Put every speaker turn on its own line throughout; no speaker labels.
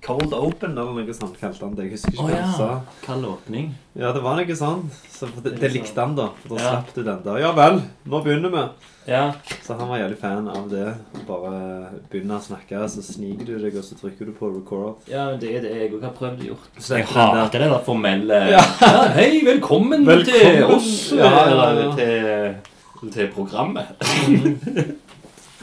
Cold Open eller noe sånt kalte han det. Jeg husker ikke
Å
hva han
ja.
sa.
Kald åpning.
Ja, det var noe sånt. Så for det, det likte han, da. For da
Ja.
slapp du den der. Ja vel, nå begynner vi.
Ja.
Så han var jævlig fan av det. Å Bare begynne å snakke, så sniker du deg, og så trykker du på record.
ja, men det er det jeg òg har prøvd å gjøre.
Så
Jeg
den der-
hater den der formelle ja. Hei, velkommen,
Velkommen.
til oss!
Ja, ja, ja.
Eller til, til programmet.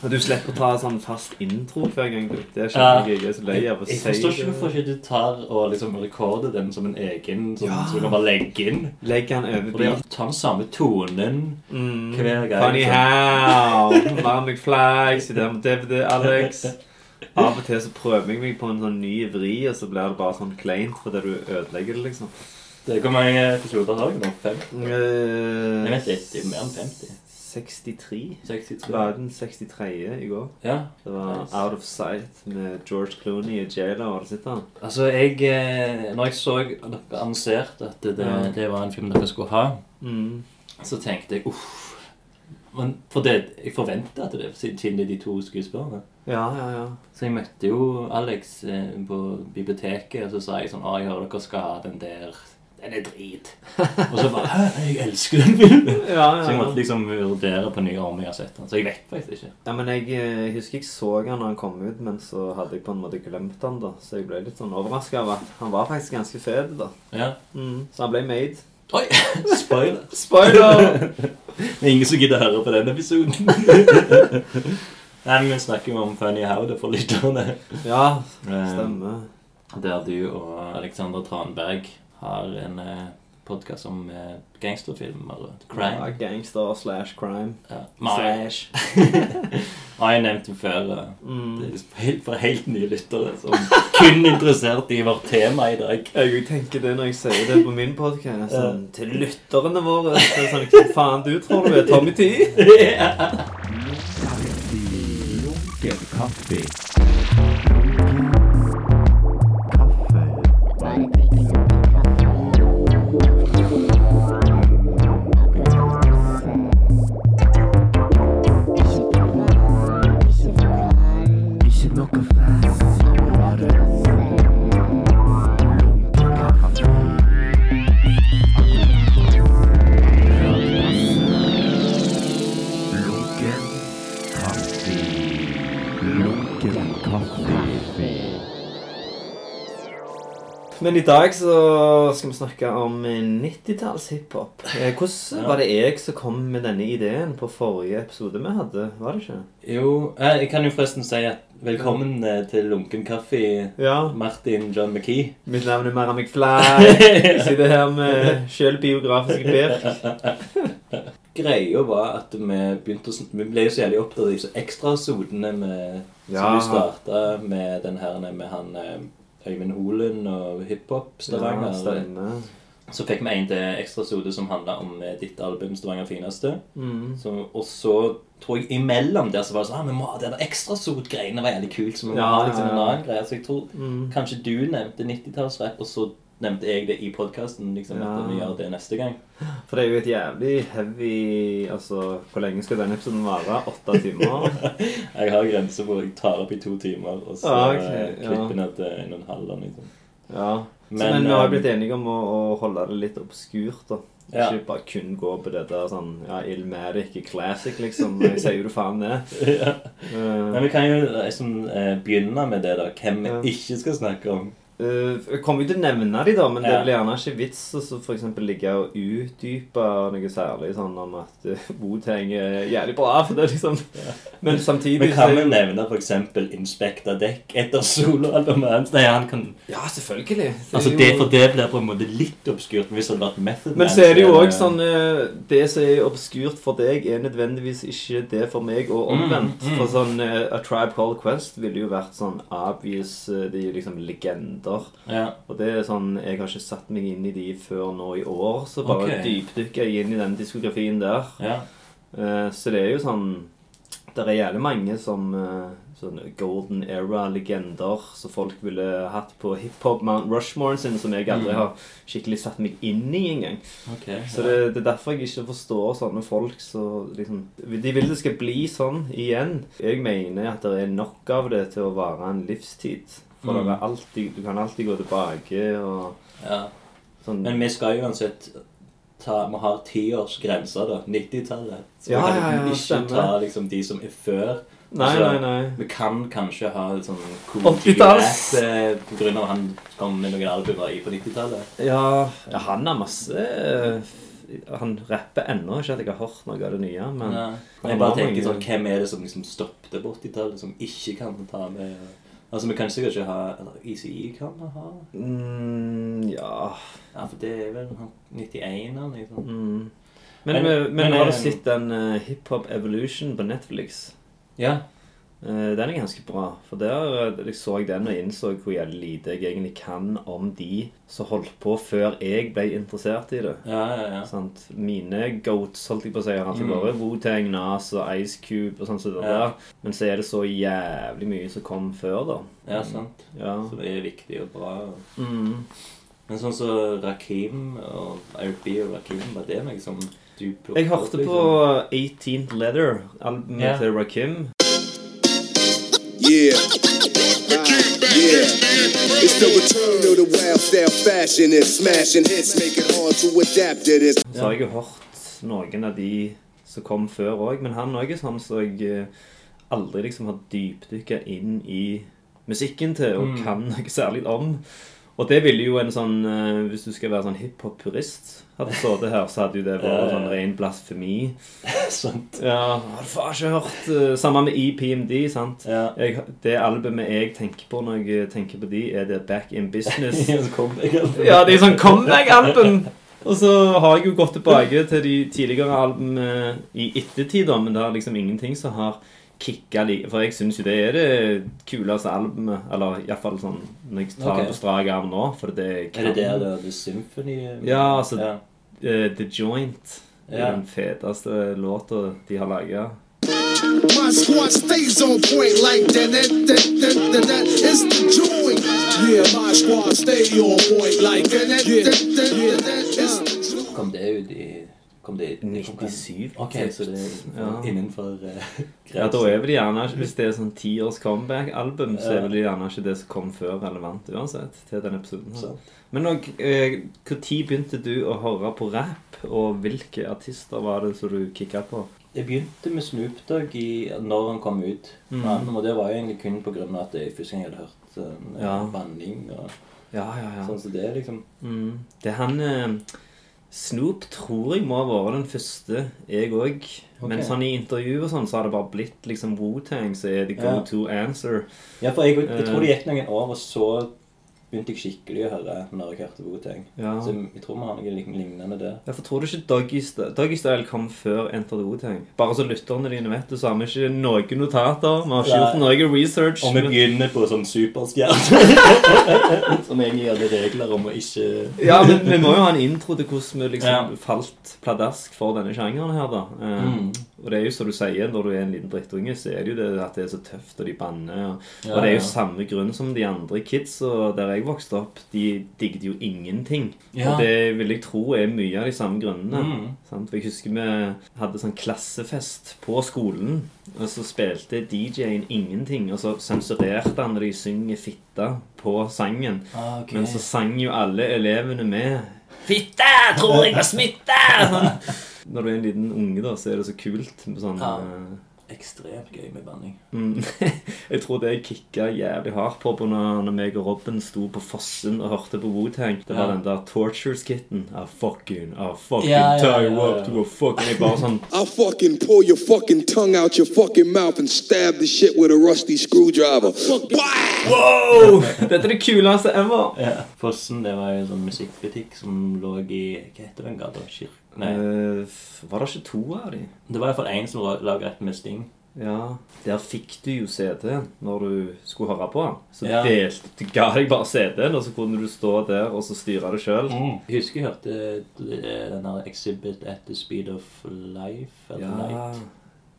Og du slipper å ta sånn fast intro hver gang. du. Det
Ja.
skjønner jeg. Jeg er så lei av å
Jeg
si
forstår ikke hvorfor ikke du tar og liksom rekorder den som en egen sånn,
Ja.
som du kan bare legge inn.
Legg han over
Og det er
beat.
å ta den samme tonen
Mm.
hver gang.
Funny
liksom.
how. Marr McFly, sitter her med DVD Alex. Av og til så prøver jeg meg på en sånn ny vri, og så blir det bare sånn kleint fordi du ødelegger det, liksom.
Det er Hvor mange episoder har jeg nå? Fem?
Mm. Eh,
Jeg vet ikke, det er mer enn 50.
63.
63?
Det var den 63. i går.
Ja.
Det var
Nice.
Out of Sight med George Clooney i jaila. Og der sitter han.
Altså, jeg eh, Når jeg så dere annonserte at det,
Ja.
det var en film dere skulle ha,
Mm.
så tenkte jeg uff. Men for det, jeg forventa at det siden det er de to skuespillerne.
Ja, ja, ja.
Så jeg møtte jo Alex eh, på biblioteket, og så sa jeg sånn Å, jeg hører dere skal ha den der. Den er drit. og så bare Hæ, jeg elsker den filmen.
ja, ja,
Så jeg måtte
ja.
liksom vurdere på nye om jeg har sett den. Så jeg vet faktisk ikke.
ja men jeg eh, husker jeg så han når han kom ut, men så hadde jeg på en måte glemt han da. Så jeg ble litt sånn overraska av at han var faktisk ganske fet, da.
Ja.
Mm. Så han ble made.
Oi! Spoiler.
Spoiler!
Det er ingen som gidder å høre på den episoden. Nei, men vi snakker jo om Funny How det er for lytterne.
ja,
Eh,
stemmer.
Der du og Alexander Tranberg har en eh, podkast om eh, gangsterfilmer og
Ja,
crime.
gangster slash crime.
Ja. Mai
Slash.
har nevnt den før. eh, Det
Mm.
er liksom helt, for helt nye lyttere som kun er interessert i vårt tema i dag.
Jeg jo tenker det når jeg sier det på min podkast. Sånn, til lytterne våre. Så er det sånn, Hva faen du tror du er? Tommy T? Men i dag så skal vi snakke om 90-talls hiphop. Eh, Hvordan var det jeg som kom med denne ideen på forrige episode vi hadde? Var det ikke?
Jo, eh, jeg kan jo forresten si at velkommen eh, til Lunken kaffe,
Ja.
Martin John McKee.
Mitt navn er Mara McFly. Jeg sitter her med sjølbiografiske Birk.
Greia var at vi begynte å sn- Vi ble jo så jævlig opptatt av disse ekstrasodene med Som
Ja.
vi starta med den her med han eh, Øyvind Holen og hiphop
Ja,
Stavanger.
stemmer.
så fikk vi en til ekstrasode som handla om eh, ditt album 'Stavanger fineste'.
Mm.
Så, og så tror jeg imellom der så var det sånn ah, vi må ha Den ekstrasod-greiene var jævlig kult. Så vi må
Ja,
ha liksom
ja,
en
ja.
annen greie. Så jeg tror
Mm.
kanskje du nevnte 90-tallsrapp, og så nevnte jeg det i podkasten. Liksom,
Ja.
At vi gjør det neste gang.
For det er jo et jævlig heavy Altså, hvor lenge skal denne episoden vare? Åtte timer?
Jeg har grenser hvor jeg tar opp i to timer, og så
Ah,
ah,
ok, ja.
klipper ned til en og en halv. Liksom.
Ja. Men,
Men,
men vi har
eh,
jo blitt enige om å, å holde det litt obskurt, da.
Ja.
Ikke bare kun gå på det der sånn ja, Ilmatic i classic, liksom. Jeg sier jo du faen det.
ja.
Uh,
Men vi kan jo liksom eh, begynne med det, da. Hvem vi
Ja.
ikke skal snakke om.
eh, jeg kommer jo til å nevne de, da, men det
Ja.
er vel gjerne ikke vits å så for eksempel ligge og utdype noe særlig sånn om at eh, Wu-Tang er jævlig bra, for det er liksom Men
Men
samtidig
kan vi
så-
nevne f.eks. Inspekta Dekk etter soloalbumet hans? Nei, han kan
Ja, selvfølgelig. Det er
Altså,
jo-
det for det blir på en måte litt obskurt hvis det hadde vært Method
Men
Man,
så er det jo
så
òg sånn eh, Det som er obskurt for deg, er nødvendigvis ikke det for meg, og omvendt.
Mm, mm.
For sånn eh, A Tribe Called Quest ville jo vært sånn obvious eh, De er liksom legender.
ja.
Og det er sånn Jeg har ikke satt meg inn i de før nå i år, så bare
Ok.
dypdykker jeg inn i den diskografien der.
ja.
Eh, Så det er jo sånn Det er jævlig mange som eh, sånne Golden Era-legender som folk ville hatt på hiphop Mount Rushmoren sin, som jeg aldri
Mm.
har skikkelig satt meg inn i engang.
Ok.
Så det, det er derfor jeg ikke forstår sånne folk som liksom De vil det skal bli sånn igjen. Jeg mener at det er nok av det til å vare en livstid. For
Mm.
det er alltid, du kan alltid gå tilbake og
ja.
sånn
Men vi skal jo uansett ta Vi har tiårsgrensa, da. 90-tallet. Så
Ja,
vi kan
ja, ja,
ikke
stemmer.
ta liksom de som er før.
Nei, nei,
altså,
nei.
Vi kan kanskje ha et sånn
Åttitalls.
eh, på grunn av han kom med noen albumer i på 90-tallet.
Ja, ja han har masse eh, Han rapper ennå. Ikke at jeg har hørt noe av det nye, men
Ja. Men
han
jeg bare
har
tenker
mange-
sånn, hvem er det som liksom stoppet på 80-tallet, som ikke kan ta med Altså, vi kan sikkert ikke ha eller ECE kan vi ha.
mm, Ja
Ja, for det er vel han 91-eren, liksom.
mm. Men,
Men-
men,
men,
har du
eh,
sett den eh, Hip Hop Evolution på Netflix?
Ja.
Eh, Den er ganske bra. For der eh, jeg så den og innså hvor jævlig lite jeg egentlig kan om de som holdt på før jeg ble interessert i det.
Ja, ja, ja.
Sant? Mine goats, holdt jeg på å si, har alltid
Mm.
vært Wu-Tang, Nas og Ice Cube og sånn som det
Ja.
der. Men så er det så jævlig mye som kom før, da.
Ja, sant.
Ja.
Så det er viktig og bra.
Mm.
Men sånn som Rakim og R.B. og Rakim, var det noe som du plukket
Jeg hørte på 18th Leather, albumet
Ja.
til Rakim.
Yeah. Yeah. It's the return of the wild style fashion and smashing hits make it hard to adapt to this.
Så har jeg jo hørt noen av de som kom før òg, men han òg er sånn som jeg eh, aldri liksom har dypdykka inn i musikken til og
Mm.
kan noe særlig om. Og det ville jo en sånn eh, Hvis du skal være sånn hiphop-purist Hadde sittet her, så hadde jo det vært sånn ren blasfemi.
Sant.
Ja, har du faen ikke hørt eh, Samme med EPMD, sant?
Ja.
Jeg, det albumet jeg tenker på når jeg tenker på de, er det Back In Business.
Så kom jeg altså.
Ja, det er sånn comeback-album. Og så har jeg jo gått tilbake til de tidligere album eh, i ettertid, da, men det er liksom ingenting som har kicka like For jeg syns jo det er det kuleste albumet, eller iallfall sånn når jeg tar
Ok.
det på strak arm nå, for det
Er det der det er The Symphony?
Ja, altså-
Ja.
eh, The Joint. er
Ja.
Den feteste låta de har laga.
My squad stays on point like that. that, that, that, that, that. It's the joint. Yeah, my squad stay on point like that. that, that, that, that, that. It's the joint.
Kom det ut i Kom det ut
97.
Ok, så det er
Ja.
innenfor eh,
Ja, da er vel gjerne ikke Hvis det er sånn tiårs comeback-album, så er
Mm. Ja.
vel gjerne ikke det som kom før, relevant uansett. til den episoden her.
Sant.
Men når eh, hvor tid begynte du å høre på rap, og hvilke artister var det som du kicka på?
Jeg begynte med Snoop Dogg i, når han kom ut.
Mhm.
Ja, Og det var jo egentlig kun på grunn av at jeg første gang jeg hadde hørt sånn, eh,
Ja.
banning og
Ja, ja, ja.
sånn. Så det er liksom
Mm. Det er han eh, Snoop tror jeg må ha vært den første, jeg òg. Men
Ok.
sånn i intervju og sånn, så har det bare blitt liksom Wu-Tang, så er det go
Ja.
to answer.
Ja, for jeg, jeg tror det gikk noen år, og så begynte jeg skikkelig å høre når jeg hørte Boateng.
Ja.
Så jeg, jeg tror vi har noe lign- lignende der.
Hvorfor tror du ikke Doggy St- Doggy Style kom før Enter the Wu-Tang? Bare så lytterne dine vet det, så har vi ikke noen notater. Vi har ikke gjort noe research.
Og vi
men-
begynner på sånn superstjerne. som egentlig hadde regler om å ikke
Ja, men vi må jo ha en intro til hvordan vi liksom
Ja.
falt pladask for denne sjangeren her, da. Eh,
Mm.
Og det er jo som du sier, når du er en liten drittunge, så er det jo det at det er så tøft, og de banner. Og,
Ja,
og det er
ja.
jo samme grunn som de andre kids og der jeg vokste opp. De digget jo ingenting.
Ja.
Og det vil jeg tro er mye av de samme grunnene.
Mm.
Sant? For Jeg husker vi hadde sånn klassefest på skolen, og så spilte DJ-en ingenting, og så sensurerte han når de synger 'fitte' på sangen.
Ah, ok.
Men så sang jo alle elevene med. Fitte! Tror
Eh,
jeg var smitte! Sånn. Når du er en liten unge, da, så er det så kult med sånn
Ja.
eh,
Ekstremt gøy med banning.
mm. Jeg tror det jeg kicka jævlig hardt på, på når, når meg og Robin sto på fossen og hørte på Wu-Tang. Det var
Ja.
den der Ah, torture-skitten. I fucking, I fucking
Ja, ja,
tie you
ja, ja,
up to a fucking Jeg bare sånn
I'll fucking pull your fucking tongue out your fucking mouth and stab the shit with a rusty screwdriver. Wow!
Oh,
Wow! Dette er det kuleste ever!
Fossen det var jo en sånn musikkbutikk som lå i Hva heter den gata? Kir... Nei.
Eh, f- var det ikke to av de?
Det var iallfall én som la- laga et med Sting.
Ja, Der fikk du jo CD når du skulle høre på. Så
Ja.
delte, de ga deg bare CD-en, og så kunne du stå der og så styre det
Mm.
sjøl.
Jeg husker jeg hørte eh, den her Exhibit at the Speed of Life. Eller
Ja.
Light.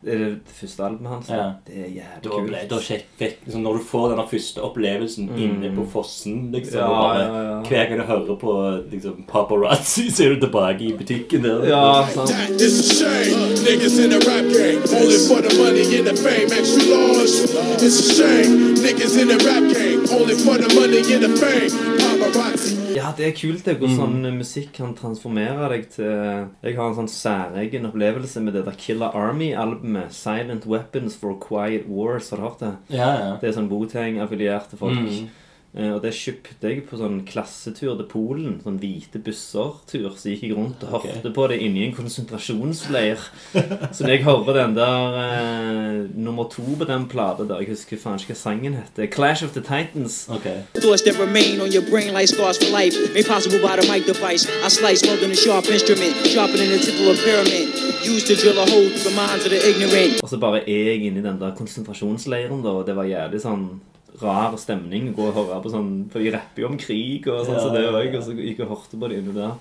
Det er det første albumet hans.
Ja.
Det er jævlig
Da ble,
kult. Mm.
da sjekk, fikk, liksom, når du får den første opplevelsen inne på fossen liksom,
Ja,
og bare,
ja, ja.
Hver gang du hører på liksom, paparazzi, så er du tilbake i butikken der.
Ja, sant.
That is a shame. Niggas in the rap game, only for the money and the fame. Extra large. It's a shame. Niggas in the rap game, only for the money and the fame. Paparazzi.
Ja, det er kult det,
Mm.
hvordan sånn musikk kan transformere deg til Jeg har en sånn særegen opplevelse med det der Killer Army-albumet. 'Silent Weapons for Quiet Wars'. Har du hørt det?
ja, ja.
Det er sånn Boteng-affilierte folk.
Mm.
Eh, Og det kjøpte jeg på sånn klassetur til Polen. Sånn hvite busser-tur. Så gikk jeg rundt og
Ah, Ok.
hørte på det inni en konsentrasjonsleir. Så når jeg hører den der eh, nummer to på den plata der Jeg husker faen ikke hva sangen heter. 'Clash of the Titans'.
Ok.
Thoughts that remain on your brain like scars for life, made possible by the mic device. I slice more than a sharp instrument, sharpening the tip of a pyramid. Used to drill a hole through the minds of the ignorant.
Og så bare er jeg inni den der konsentrasjonsleiren, da, og det var jævlig sånn rar stemning å gå og høre på sånn For de rapper jo om krig og sånn,
Ja,
så det
ja,
òg.
ja.
Og så gikk jeg og hørte på det inni der.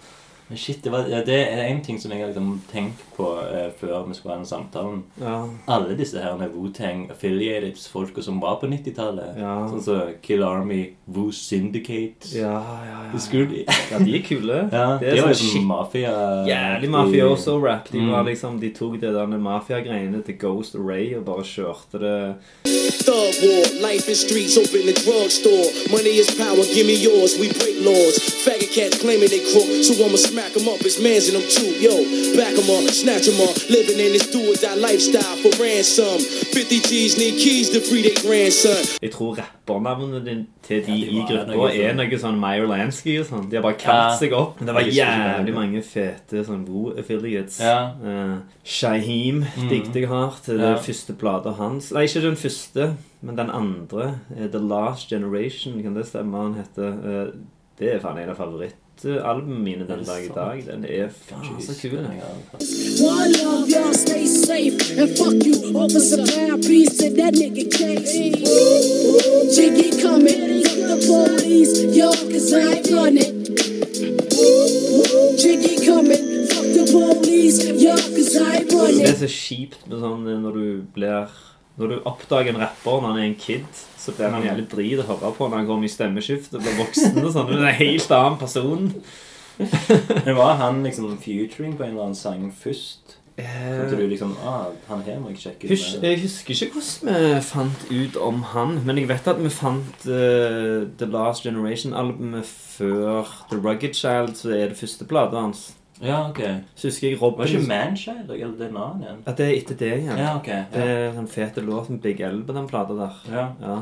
Men shit, det, var, ja, det er en ting som jeg har liksom, tenkt på eh, før vi skulle ha den samtalen.
Ja.
alle disse her Wu-Tang affiliated folka som var på 90-tallet.
Ja.
Sånn som Kill Army, Wu Syndicate
Ja, ja, ja.
Husker du de?
ja, de er kule.
Ja,
det er sånn
var liksom
skikkelig
mafia...
Jævlig mafioso-rap. De var liksom, de tok det der mafiagreiene til Ghost og Ray og bare kjørte det
Thug war, life in streets, open the drugstore. Money is power, give me yours, we break laws. Faggot cats claiming they crook, so I'ma smack 'em up, it's mans in them too. Yo, back 'em up, snatch 'em up, living in this do or die lifestyle for ransom. 50 G's need keys to free their grandson.
Jeg tror rappernavnene din til de,
Ja, de
i
var
gruppa
noe sånn.
er noe sånn Meyer Lansky og sånn. De har bare kalt
Ja.
seg opp. Men det var
Jeg husker ikke
jævlig
det.
mange fete sånn gode affiliates.
Ja. Mm.
Eh, Shaheem digget jeg hardt. Det
Ja.
første plata hans. Nei, ikke den første, men den andre. eh, The Last Generation, kan det stemme han heter? Eh, det er faen en av favorittalbumene mine
Er
den
det
dag i
sant?
dag. Den er faen Ah, så kul.
altså.
One love, y'all stay safe. And fuck you, Officer Brown, please to that nigga case. Jiggy coming, fuck the police, yo, cause I ain't running. Jiggy coming, fuck the police, yo, cause I ain't running.
Det er så kjipt med sånn eh, når du blir Når du oppdager en rapper når han er en kid, så blir han jævlig drit å høre på når han kommer i stemmeskift og blir voksen og sånn. Men det er en helt annen person.
Men var han liksom featuring på en eller annen sang først? Så
Eh,
du liksom, ah, han her må jeg sjekke
hus
ut. med.
jeg husker ikke hvordan vi fant ut om han, men jeg vet at vi fant eh, The Last Generation-albumet før The Rugged Child, så det er det første plata hans.
Ja, ok.
Så husker jeg
Var ikke
Robin
Manchild, eller det er en annen igjen?
At det er etter det igjen.
Ja, ok.
Det
Ja.
er den fete låten Big L på den plata der.
Ja.
Ja.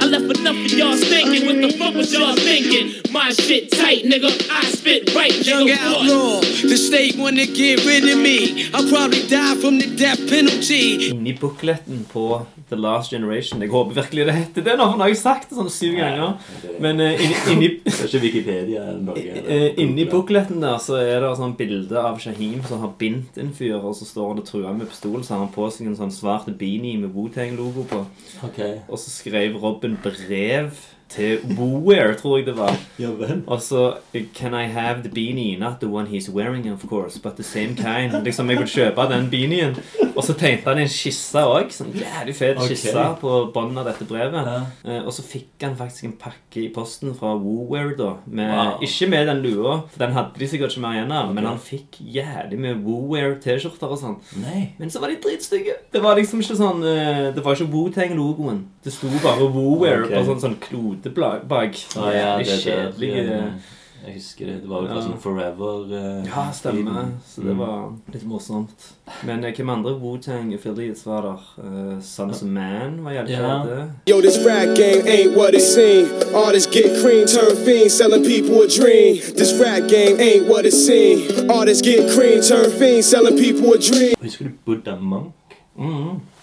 I left enough of y'all stinking. What the fuck was y'all thinking? My shit tight, nigga. I spit right,
Young
nigga. What?
outlaw, the state wanna get rid of me. I'll probably die from the death penalty.
inni bukletten på The Last Generation. Jeg håper virkelig det heter det nå, for nå har jeg sagt det sånn syv ganger.
det-
Men eh, inni, inni,
Det er ikke Wikipedia eller noe? eller-
eh, inni bukletten der så er det sånn bilde av Shaheem som har bindt en fyr, og så står han og truer med pistol, så har han på seg en sånn svart beanie med Wu-Tang-logo på.
Ok.
Og så skrev Robin brev til Wooware, tror jeg det var.
Ja vel.
Og så Can I have the beanie? Not the one he's wearing, of course, but the same kind. Liksom, jeg vil kjøpe den beanien. Og så tegnte han en skisse òg. Sånn jævlig fet
Ok.
skisse på bånden av dette brevet.
Ja.
Eh, og så fikk han faktisk en pakke i posten fra Wooware, da. Med,
Wow.
Ikke med den lua, for den hadde de sikkert ikke mer igjen av. Men han fikk jævlig med Wooware-T-skjorter og sånn.
Nei.
Men så var de dritstygge. Det var liksom ikke sånn eh, Det var ikke Wu-Tang-logoen. Det sto bare Wooware
Ok.
på sånn, sånn klode bla- bak.
Ah, ja,
Jævlig
det der,
kjedelige
eh, Jeg husker det. Det var jo fra
Ja.
sånn Forever eh,
Ja, stemmer.
tiden. Mm.
Så det var litt morsomt. Men eh, hvem andre Wu-Tang affiliates var der? Eh, Sons of Man var jævlig
Ja.
fete.
Yo, this rap game ain't what it seems. Artists get cream, turn fiends, selling people a dream. This rap game ain't what it seems. Artists get cream, turn fiends, selling people a dream.
Husker du Buddha Monk?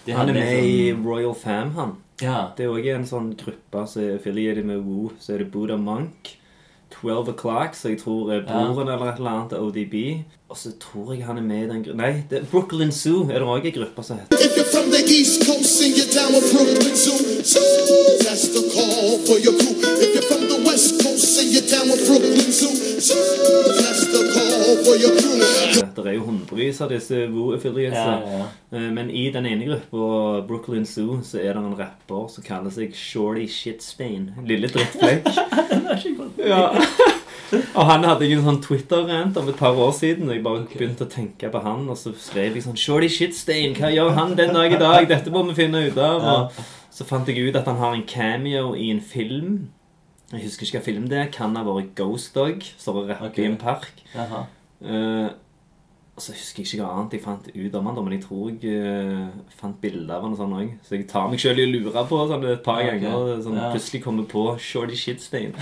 Det
Han er
en
med i
sånn-
Royal Fam, han.
Ja.
Det er òg en sånn gruppe som er affiliated med Wu. Så er det Buddha Monk. 12 O'Clock, så jeg tror er broren eller et eller annet til ODB. Og så tror jeg han er med i den gruppa Nei, det er Brooklyn Zoo er det òg en gruppe som heter.
If you're from the East Coast and you're down with Brooklyn Zoo, zoo, that's the call for your crew. If you're from the West Coast and you're down with Brooklyn Zoo, zoo, that's the call for your crew.
Det er jo hundrevis av disse Woo-affiliates.
Ja, ja,
Eh, Men i den ene gruppa, Brooklyn Zoo, så er det en rapper som kaller seg Shorty Shitstain. Lille drittflekk. ja. Og han hadde jeg en sånn Twitter-rant om et par år siden. Og jeg bare begynte å tenke på han, og så skrev jeg sånn Shorty Shitstain, hva gjør han den dag i dag? Dette må vi finne ut av. Og så fant jeg ut at han har en cameo i en film. Jeg husker ikke hva film det er. Kan ha vært Ghost Dog. Står og rapper
Ok.
i en park.
Jaha.
Eh, og så husker jeg ikke hva annet jeg fant ut om han, da, men jeg tror jeg eh, fant bilder av han og sånn òg. Så jeg tar meg sjøl i å lure på sånn et par
Ja, ok.
ganger. Sånn,
Ja.
Plutselig kommer på Shorty Shitstein.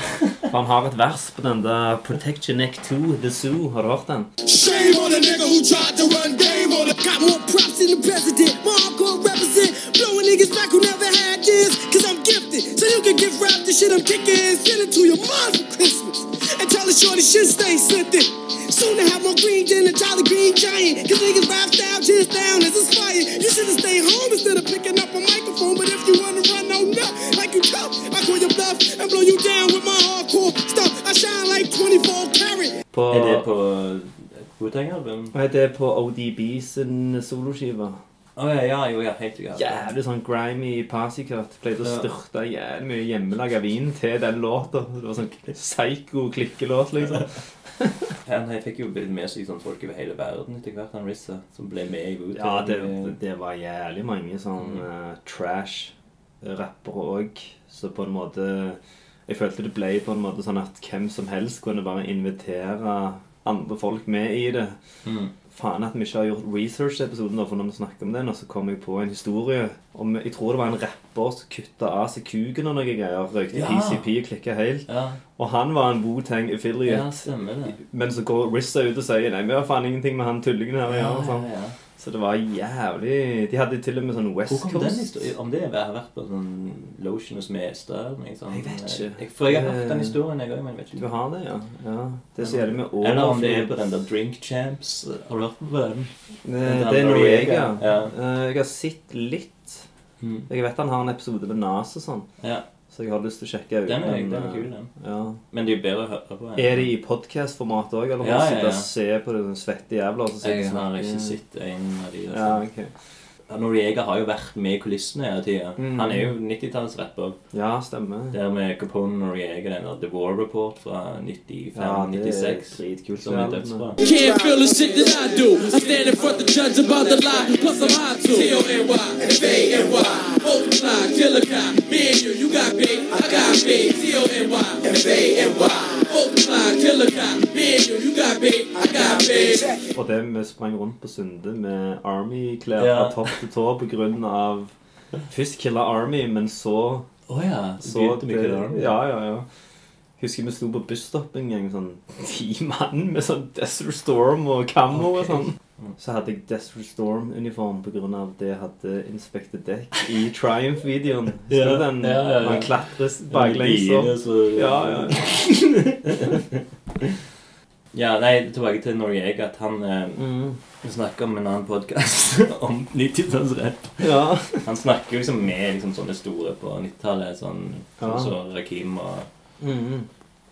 For han har et vers på den der Protect your neck to the zoo. Har du hørt den?
Shame on a nigga who tried to run game on a
Got more props than the president. My hardcore represent. Blowing niggas like who never had this. Cause I'm gifted. So you can get wrapped the shit I'm kicking. Send it to your mom for Christmas. And tell her shorty shit stay sent it. Soon to have more green than a Jolly Green Giant. Cause niggas rap style just down is inspired. You should've stayed home instead of picking up a microphone. But if you wanna run on up like you tough, I call your bluff and blow you down with my hardcore stuff. I shine like 24 karat.
På,
Er det på Wu-Tang-album?
Nei, det er på ODB sin soloskive.
Å ja, ja, jo, ja, helt sikkert.
Jævlig sånn grimy pasicut. Pleide å
Ja.
styrte jævlig mye hjemmelaga vin til den låta. Det var sånn psycho klikkelåt, liksom.
Han han fikk jo blitt med seg sånn folk over hele verden etter hvert, han Rissa, som ble med Mm. i Wu-Tang.
Ja, det, det var jævlig mange sånn eh, trash-rappere òg. Så på en måte Jeg følte det ble på en måte sånn at hvem som helst kunne bare invitere andre folk med i det.
Mm.
Faen at vi ikke har gjort research-episoden, da, for når vi snakker om den, og så kom jeg på en historie om Jeg tror det var en rapper som kutta av seg kuken og noe greier. Røykte
Ja.
PCP og klikka helt.
Ja,
Og han var en Wu-Tang
ja,
affiliate.
stemmer det.
Men så går Rizza ut og sier nei, vi har faen ingenting med han tullingen her å gjøre. sånn.
ja.
Så det var jævlig De hadde til og med sånn West
Hvor kom den
Coast.
historien? Om det har vært på sånn Lotion hos Mestad eller noe sånt?
Jeg vet ikke.
Jeg, sånn, for jeg har hørt
Eh,
den historien, jeg òg, men jeg vet
Du
ikke.
har det, ja. ja. Det som gjelder med
Eller om det er på den der Drink Champs. Har du hørt på den?
Eh,
den
Det er Norega.
Noriega, ja.
Eh, Jeg har sett litt.
Mm.
Jeg vet han har en episode med Nas og sånn,
Ja.
så jeg har lyst til å sjekke ut eh,
Den er, den er kul, den.
Ja.
Men det er jo bedre å høre på. enn-
Er det i podkast-format òg, eller må
Ja,
du
ja,
sitte og
ja.
se på det den svette jævla og så sitte
Jeg
og
har
snakke?
ikke sett en av de.
eh, Ja,
Altså.
ok.
Noriega har jo vært med i kulissene hele tida.
Mm.
Han er jo 90-tallsrapper.
ja stemmer.
Der med Capone Noriega, den der The War Report fra 95-96.
Ja, det er dritkult,
som
det
er
albumet.
dødsbra.
Can't feel the shit that I do. I stand in front of the judge about the lie, plus I'm high too. T-O-N-Y, F-A-N-Y, multiply, killer guy. Me and you, you got big, I got big. T-O-N-Y, F-A-N-Y, multiply, killer guy. Me and you, you got big, I got big.
Og det vi sprang rundt på Sunde med Army-klær
Ja.
fra topp til tå på grunn av Først killa Army, men så
Å ja.
Så det, ja, ja, ja. Husker vi sto på busstopp en gang, sånn ti mann med sånn Desert Storm og camo og
Ok.
sånn. Så hadde jeg Desert Storm-uniform pga. det jeg hadde Inspected Deck i Triumph-videoen. Husker
Ja,
du den?
ja, ja, ja.
Han klatrer baklengs opp. Ja, ja.
Ja, nei, tilbake til Noriega. At han eh,
Mm.
snakker om en annen podkast om 90-tallsrapp.
ja.
Han snakker jo liksom med liksom, sånne store på 90-tallet, sånn
Ja.
som så Rakim og
Mm.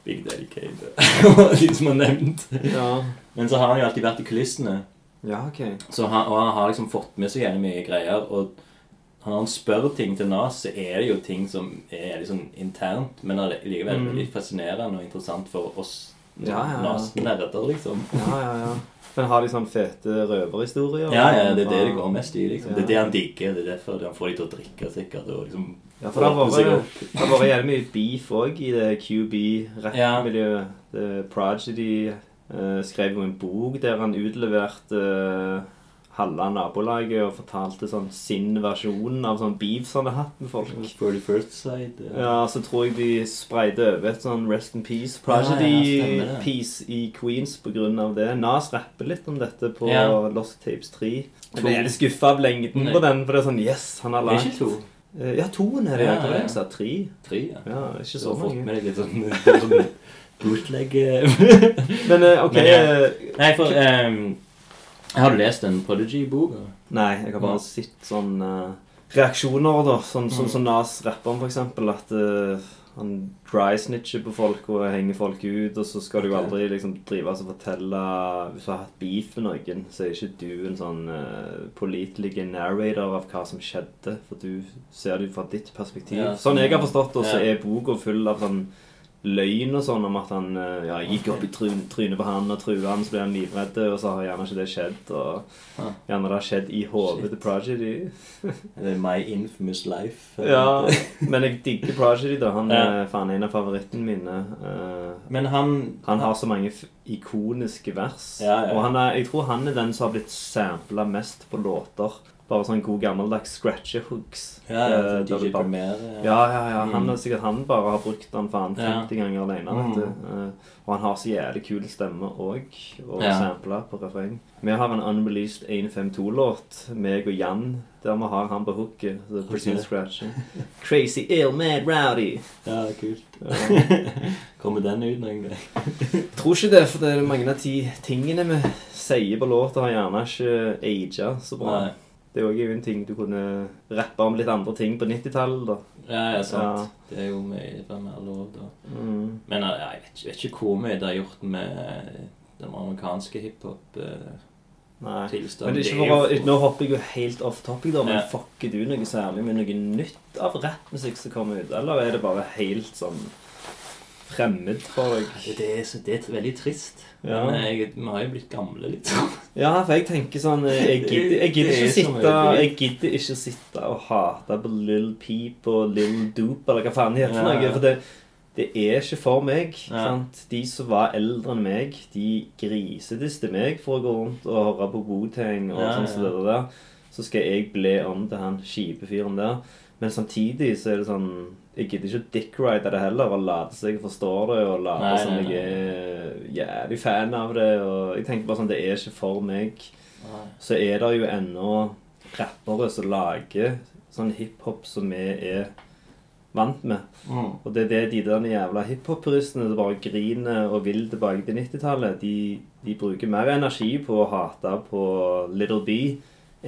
Big Daddy Cave og de som er nevnt.
ja.
Men så har han jo alltid vært i kulissene.
Ja, OK.
Så han, og han har liksom fått med seg jævlig mye greier. Og når han spør ting til Nas, så er det jo ting som er liksom internt, men allikevel
Mm.
veldig fascinerende og interessant for oss
Ja, ja, ja.
Nas-nerder, liksom.
Ja, ja, ja. Men har de sånn fete røverhistorier?
Ja, ja, det er det det går mest i. liksom.
Ja.
Det er det han digger. Det er derfor han får de til å drikke, sikkert. og liksom...
Ja, for det har
åpne seg
vært-
opp.
det har vært jævlig mye beef òg i det QB-rappmiljøet. Prodigy eh, skrev jo en bok der han utleverte eh, halve nabolaget og fortalte sånn sin versjon av sånn beef han hadde hatt med folk.
For the first eh. side. Ja.
Ja, så tror jeg de spreide over et sånn Rest in Peace
Ja, ja, stemmer det.
Prodigy-piece i Queens på grunn av det. Nas rapper litt om dette på
Ja.
Lost Tapes 3. Jeg ble litt skuffa av lengden
Nei.
på den, for det er sånn Yes, han har
Det er
lagd
ikke to.
Eh, Ja, toen er det.
Ja,
Ja, ja,
ja.
Jeg sa tre.
Tre, ja.
Ja, ikke
Du
så
har fått
mange.
med deg litt sånn, sånn bootleg
Men eh, OK
Men, ja.
eh,
Nei, for ehm, Har du lest den Prodigy-boka?
Nei, jeg har
Ja. Mm.
bare sett sånn eh, reaksjoner, da. Sånn som sånn, Nas rapper om, for eksempel. At eh, Han dry-snitcher på folk og henger folk ut, og så skal du jo aldri liksom drive og fortelle Hvis du har hatt beef med noen, så er ikke du en sånn eh, pålitelig narrator av hva som skjedde, for du ser det jo fra ditt perspektiv.
Ja. mm.
Sånn jeg har forstått det, så
Ja.
er boka full av sånn løgn og sånn om at han eh, ja, gikk opp i tryn, trynet på han og trua han, så ble han livredd, og så har gjerne ikke det skjedd,
Ja.
og gjerne det har skjedd i hodet til Prodigy.
Det er My Infamous Life.
Ja, men jeg digger Prodigy, da. Han
Ja.
er faen en av favorittene mine. Eh,
Men han,
han har så mange f ikoniske vers.
Ja, ja.
Og han er, jeg tror han er den som har blitt sampla mest på låter. Bare sånn god gammeldags scratcher-hooks.
ja, sånn
Eh,
ja,
der
DJ
du bare-
Premier.
ja, ja, ja. Han er sikkert han bare har brukt den faen
Ja.
50 ganger alene. Vet du. Eh, og han har så jævlig kul stemme òg, og
Ja.
sampla på refreng. Vi har en unreleased 152-låt, meg og Jan, der vi har han på hooket. Så
Ok.
Presume Scratching. Crazy ill mad rowdy.
Ja, kult. Kommer den ut noen gang?
Tror ikke det, for det er mange av de tingene vi sier på låta, har gjerne ikke aga så bra.
Nei.
Det er òg en ting du kunne rappe om litt andre ting på 90-tallet, da.
Ja, ja, sant. Det er jo mye fra mer lov, da.
Mm.
Men eh, jeg vet, ikke- vet ikke hvor mye det har gjort med eh, den amerikanske eh, hiphop-tilstanden.
Nei. Men det er ikke for å, Nå hopper jeg jo helt off topic, da, men
Ja.
fucker du noe særlig med noe nytt av rappmusikk som kommer ut? Eller er det bare helt sånn fremmed for deg?
det er, så, det er veldig trist.
Ja.
Men eh, jeg, vi har jo blitt gamle, liksom.
Ja, for jeg tenker sånn eh, Jeg gidder, jeg gidder, ikke,
Det er så
sitte,
mye dritt.
jeg gidder ikke sitte og hate på Lill Peep og Lill Doop eller hva faen de heter. for
Ja.
noe, For det, det er ikke for meg.
Ja.
sant? De som var eldre enn meg, de grisediste meg for å gå rundt og høre på Wu-Tang og
Ja,
sånn
ja.
som det der. Så skal jeg ble om til han kjipe fyren der. Men samtidig så er det sånn Jeg gidder ikke å dickride det heller og late som jeg forstår det og late
Nei,
som
nei, nei.
sånn jeg er jævlig fan av det. Og jeg tenker bare sånn Det er ikke for meg så er det jo ennå rappere som lager sånn hiphop som vi er vant med.
Mm.
Og det er det de der jævla hiphop-puristene som bare griner og vil tilbake til 90-tallet, de, de bruker mer energi på å hate på Little B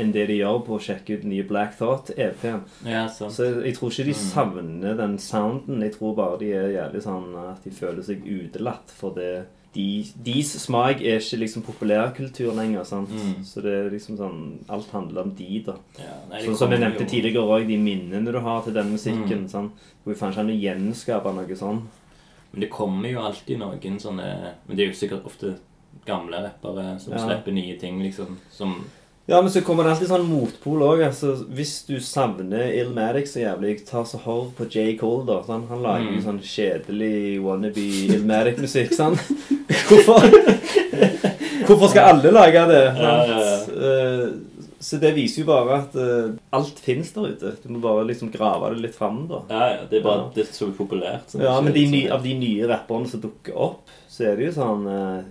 enn det de gjør på å sjekke ut nye Black E Thought-EP-en.
Ja, sant.
Så Altså, jeg tror ikke de
Mm.
savner den sounden. Jeg tror bare de er jævlig sånn at de føler seg utelatt for det. De, deres smak er ikke liksom populærkultur lenger. sant?
Mm.
Så det er liksom sånn Alt handler om de, da.
Ja, nei, det
Sånn som jeg
kommer
nevnte
jo- Mm.
tidligere òg, de minnene du har til den musikken. sånn. Du kan ikke an å gjenskape noe sånn.
Men det kommer jo alltid noen sånne Men det er jo sikkert ofte gamle rappere som
Ja.
slipper nye ting, liksom. Som
Ja, men så kommer det alltid sånn motpol òg. Altså, hvis du savner Illmatic så jævlig, ta så hør på J. Cole, da. Sånn. Han lager jo
Mm.
sånn kjedelig wannabe Illmatic-musikk, sant? Hvorfor? Hvorfor skal alle lage det?
Ja, ja, ja.
sant? Eh, Så det viser jo bare at eh, alt fins der ute. Du må bare liksom grave det litt fram, da.
Ja, ja, det er bare
Ja.
det er så populært. sånn.
Ja, men de
Så-
ny, av de nye rapperne som dukker opp, så er det jo sånn eh,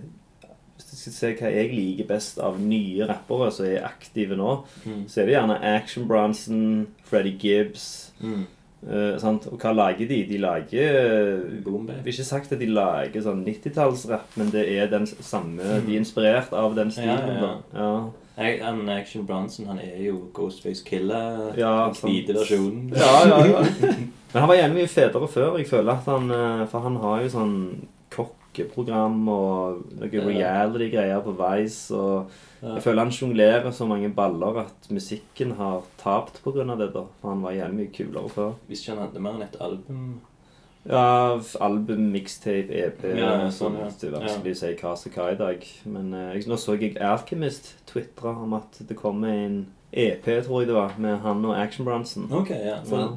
Hvis du skal se hva jeg liker best av nye rappere som er aktive nå,
Mm.
så er det gjerne Action Bronson, Freddy Gibbs
Mm.
eh, sant? Og hva lager de? De lager eh,
Boom,
Jeg vil ikke sagt at de lager sånn 90-tallsrapp, men det er den s- samme De er inspirert av den stilen,
Mm. ja, ja.
da.
Jeg- Han Action Bronson han er jo Ghostface Killer.
Ja,
den hvite
sant.
versjonen.
Ja, ja, ja. Men han var gjerne mye federe før. Jeg føler at han eh, For han har jo sånn kokkeprogram og noe
Ja.
reality-greier på Vice. Og
Ja.
jeg føler han sjonglerer så mange baller at musikken har tapt pga. det. da For han var gjerne mye kulere før.
Hvis ikke han hadde mer enn et album
Ja, f- album, mixtape, EP
Ja, ja,
sånn,
sånn, ja.
Det er vanskelig å si hva som hva i dag. Men eh, jeg, nå så jeg Alchemist twitre om at det kommer en EP, tror jeg det var, med han og Action Bronson.
Ok, ja. For
Ja.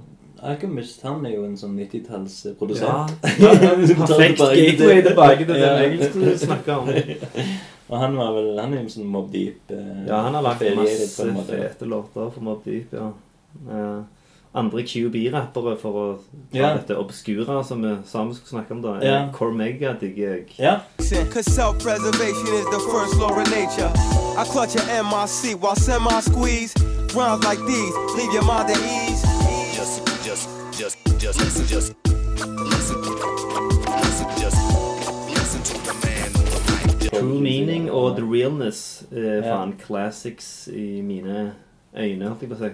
Alchemist han er jo en sånn 90-tallsprodusent.
Ja. Perfekt
liksom Tilbake til det.
gateway tilbake til
Ja.
den jeg skulle snakke om.
Og han var vel Han er jo en sånn Mobb Deep eh,
Ja, han har lagd
affiliated på
masse
en måte.
fete låter for Mobb Deep, ja. Eh, andre QB-rappere, for å ta
Ja.
dette obskure som vi sammen skulle snakke om, da.
Ja.
Cormega digger jeg.
Ja.
Cause self preservation is the first law of nature. I clutch a MIC while semi squeeze. Rhymes like these leave your mind at ease.
Just, just, just, just listen, just listen, listen, just listen to the man on the mic.
True Meaning og The Realness eh, er
Ja.
faen classics i mine øyne, holdt jeg på å si.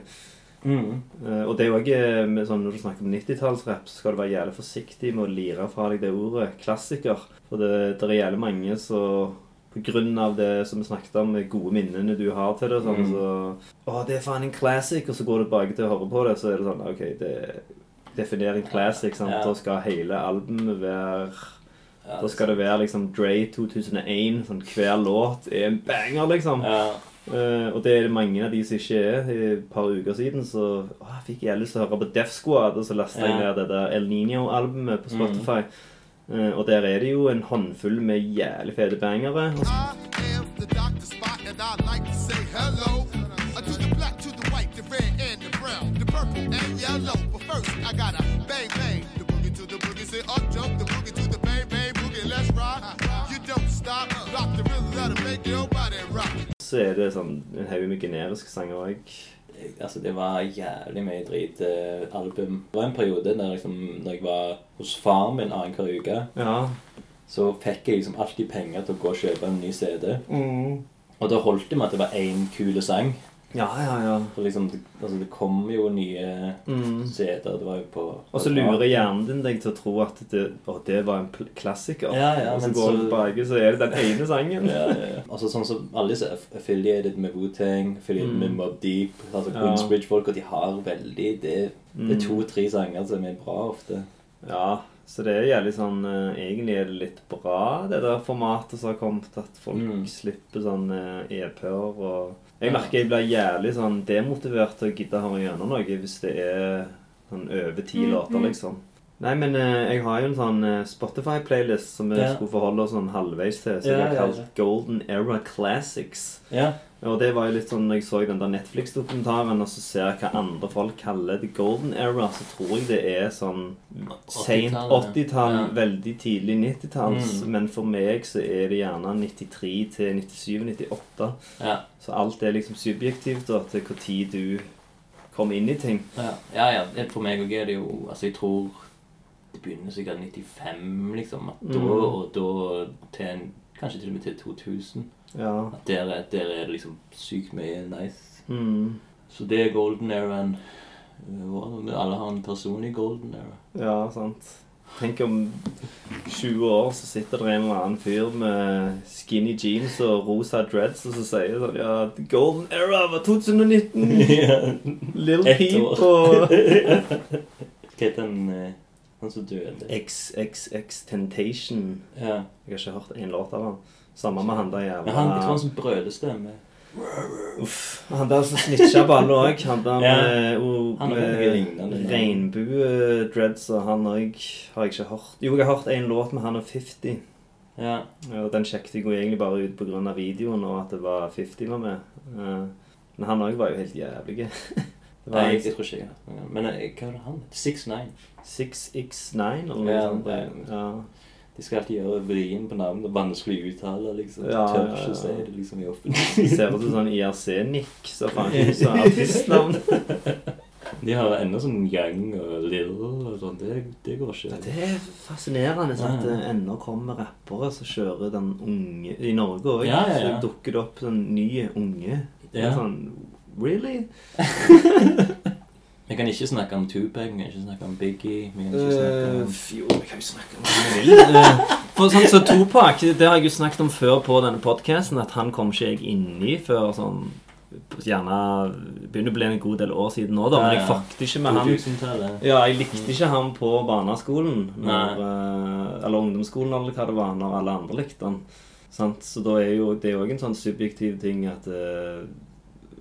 Eh, og det er jo også, eh, med sånn, Når du snakker om 90-tallsrapp, så skal du være jævlig forsiktig med å lire fra deg det ordet 'klassiker'. For det, det er jævlig mange som pga. det som vi snakket om, med gode minnene du har til det sånn, så, 'Å, det er faen en classic', og så går du tilbake til å høre på det, så er det sånn OK, det definerer en classic, sant?
Ja.
Da skal hele albumet være
Ja,
Da skal det være liksom Dre 2001. Sånn, hver låt er en banger, liksom.
Ja.
Eh, og det er det mange av de som ikke er. I et par uker siden så å, jeg fikk jeg lyst til å høre på Death Squad, og så lasta jeg
Ja.
ned
Mm.
det der El Niño-albumet på Spotify. Eh, og der er det jo en håndfull med jævlig fete bangere. Og
I am the Dr. Spot, and I like to say hello. Uh, to the black, to the white, the red, and the brown, the purple, and yellow. But first, I gotta bang, bang. The boogie to the boogie, say up, jump, the boogie to the bang, bang, boogie, let's rock. You don't stop, rock the rhythm that'll make your body rock.
så er det sånn en haug med generiske sanger òg.
Altså, det var jævlig mye drit eh, album. Det var en periode der liksom, når jeg var hos faren min annenhver uke,
Ja.
så fikk jeg liksom alltid penger til å gå og kjøpe en ny CD. Og da holdt det med at det var én kule sang.
ja, ja, ja.
For liksom, det, altså, det kom jo nye CD-er. Det var jo på
Mm. Og så lurer hjernen din deg til å tro at det, å, det var en pl- klassiker.
Ja, ja,
og så
men
går du
så-
tilbake, så er det den ene sangen.
Ja, ja, ja. Altså sånn som Alle disse aff- affiliated med Wu-Tang, affiliated med Mob Deep, altså
Ja.
Queensbridge-folk, og de har veldig Det, det er to-tre sanger som er bra ofte.
Ja, så det er jævlig sånn eh, Egentlig er det litt bra, det der formatet som har kommet, at folk
Mm.
slipper sånn eh, EP-er og Jeg merker jeg blir jævlig sånn demotivert til å gidde å høre gjennom noe hvis det er sånn over ti
Mm,
låter, liksom. Nei, men eh, jeg har jo en sånn eh, Spotify-playlist som vi
Ja.
skulle forholde oss sånn halvveis til, som
Ja,
jeg har
ja,
kalt
ja.
Golden Era Classics.
Ja.
Og det var jo litt sånn når jeg så den der Netflix-dokumentaren, og så ser jeg hva andre folk kaller the golden era, så tror jeg det er sånn sent
80-tallet.
80-tall,
Ja.
veldig tidlig 90-talls. Men for meg så er det gjerne 93 til 97-98.
Ja.
Så alt er liksom subjektivt da, til hvor tid du kom inn i ting.
Ja, ja. ja. Det- For meg òg er det jo Altså, jeg tror det begynner sikkert 95, liksom. At da og da til en, Kanskje til og med til 2000.
Ja.
At der, er- der er det liksom sykt mye nice.
Mm.
Så det er golden eraen. Eh, Alle har en personlig golden era.
Ja, sant. Tenk om 20 år så sitter det en eller annen fyr med skinny jeans og rosa dreads og så sier sånn Ja, the golden era var 2019! Little
Ett
Peep
år.
og
Hva het den eh, han som døde?
XXX Temptation.
Ja.
Jeg har ikke hørt en låt av han. Samme med han der
Men han, jeg tror han
jævla
som brølestemme.
Han der som snitcha på alle òg. Han der
Ja.
med, og-
Han har noe lignende.
med regnbue-dreads og han òg har jeg ikke hørt. Jo, jeg har hørt en låt med han og 50.
Ja.
Ja, og den sjekket jeg jo egentlig bare ut pga. videoen og at det var 50 var med. Eh, Men han òg var jo helt jævlig. Det var
Nei, jeg,
en
jeg tror ikke jeg har hørt noen gang. Men eh, hva var det han het? 6ix9ine.
6X9 eller noe
Ja,
sånt.
nei.
Ja.
De skal alltid gjøre vrien på navnet og vanskelig uttale, liksom.
Ja,
Tør
ja,
ikke
ja.
si det liksom i
Det
offentlig.
ser ut som sånn IRC-nikk. Så faen ikke ut som artistnavn.
De har ennå sånn Young og Little og sånn. Det, det går ikke.
Det er fascinerende sånn at det ennå kommer rappere som kjører den unge I Norge òg
Ja, ja, ja.
så dukker det opp sånn nye unge. Det
Ja.
er Sånn, really?
Vi kan ikke snakke om Tupac, vi kan ikke snakke om Biggie, vi kan ikke snakke
Eh,
om
f- jo, vi kan jo snakke om hva vi vil. Eh, For sånn som Topak, det har jeg jo snakket om før på denne podcasten, at han kom ikke jeg inn i før sånn Gjerne begynner å bli en god del år siden nå, da, men jeg
Ja, ja.
fucket ikke med han.
2000-tallet.
Ja, jeg likte ikke han på barneskolen,
Nei.
når, eh, eller ungdomsskolen, eller hva det var, når alle andre likte han. Sant? Så da er jo det er jo også en sånn subjektiv ting at eh,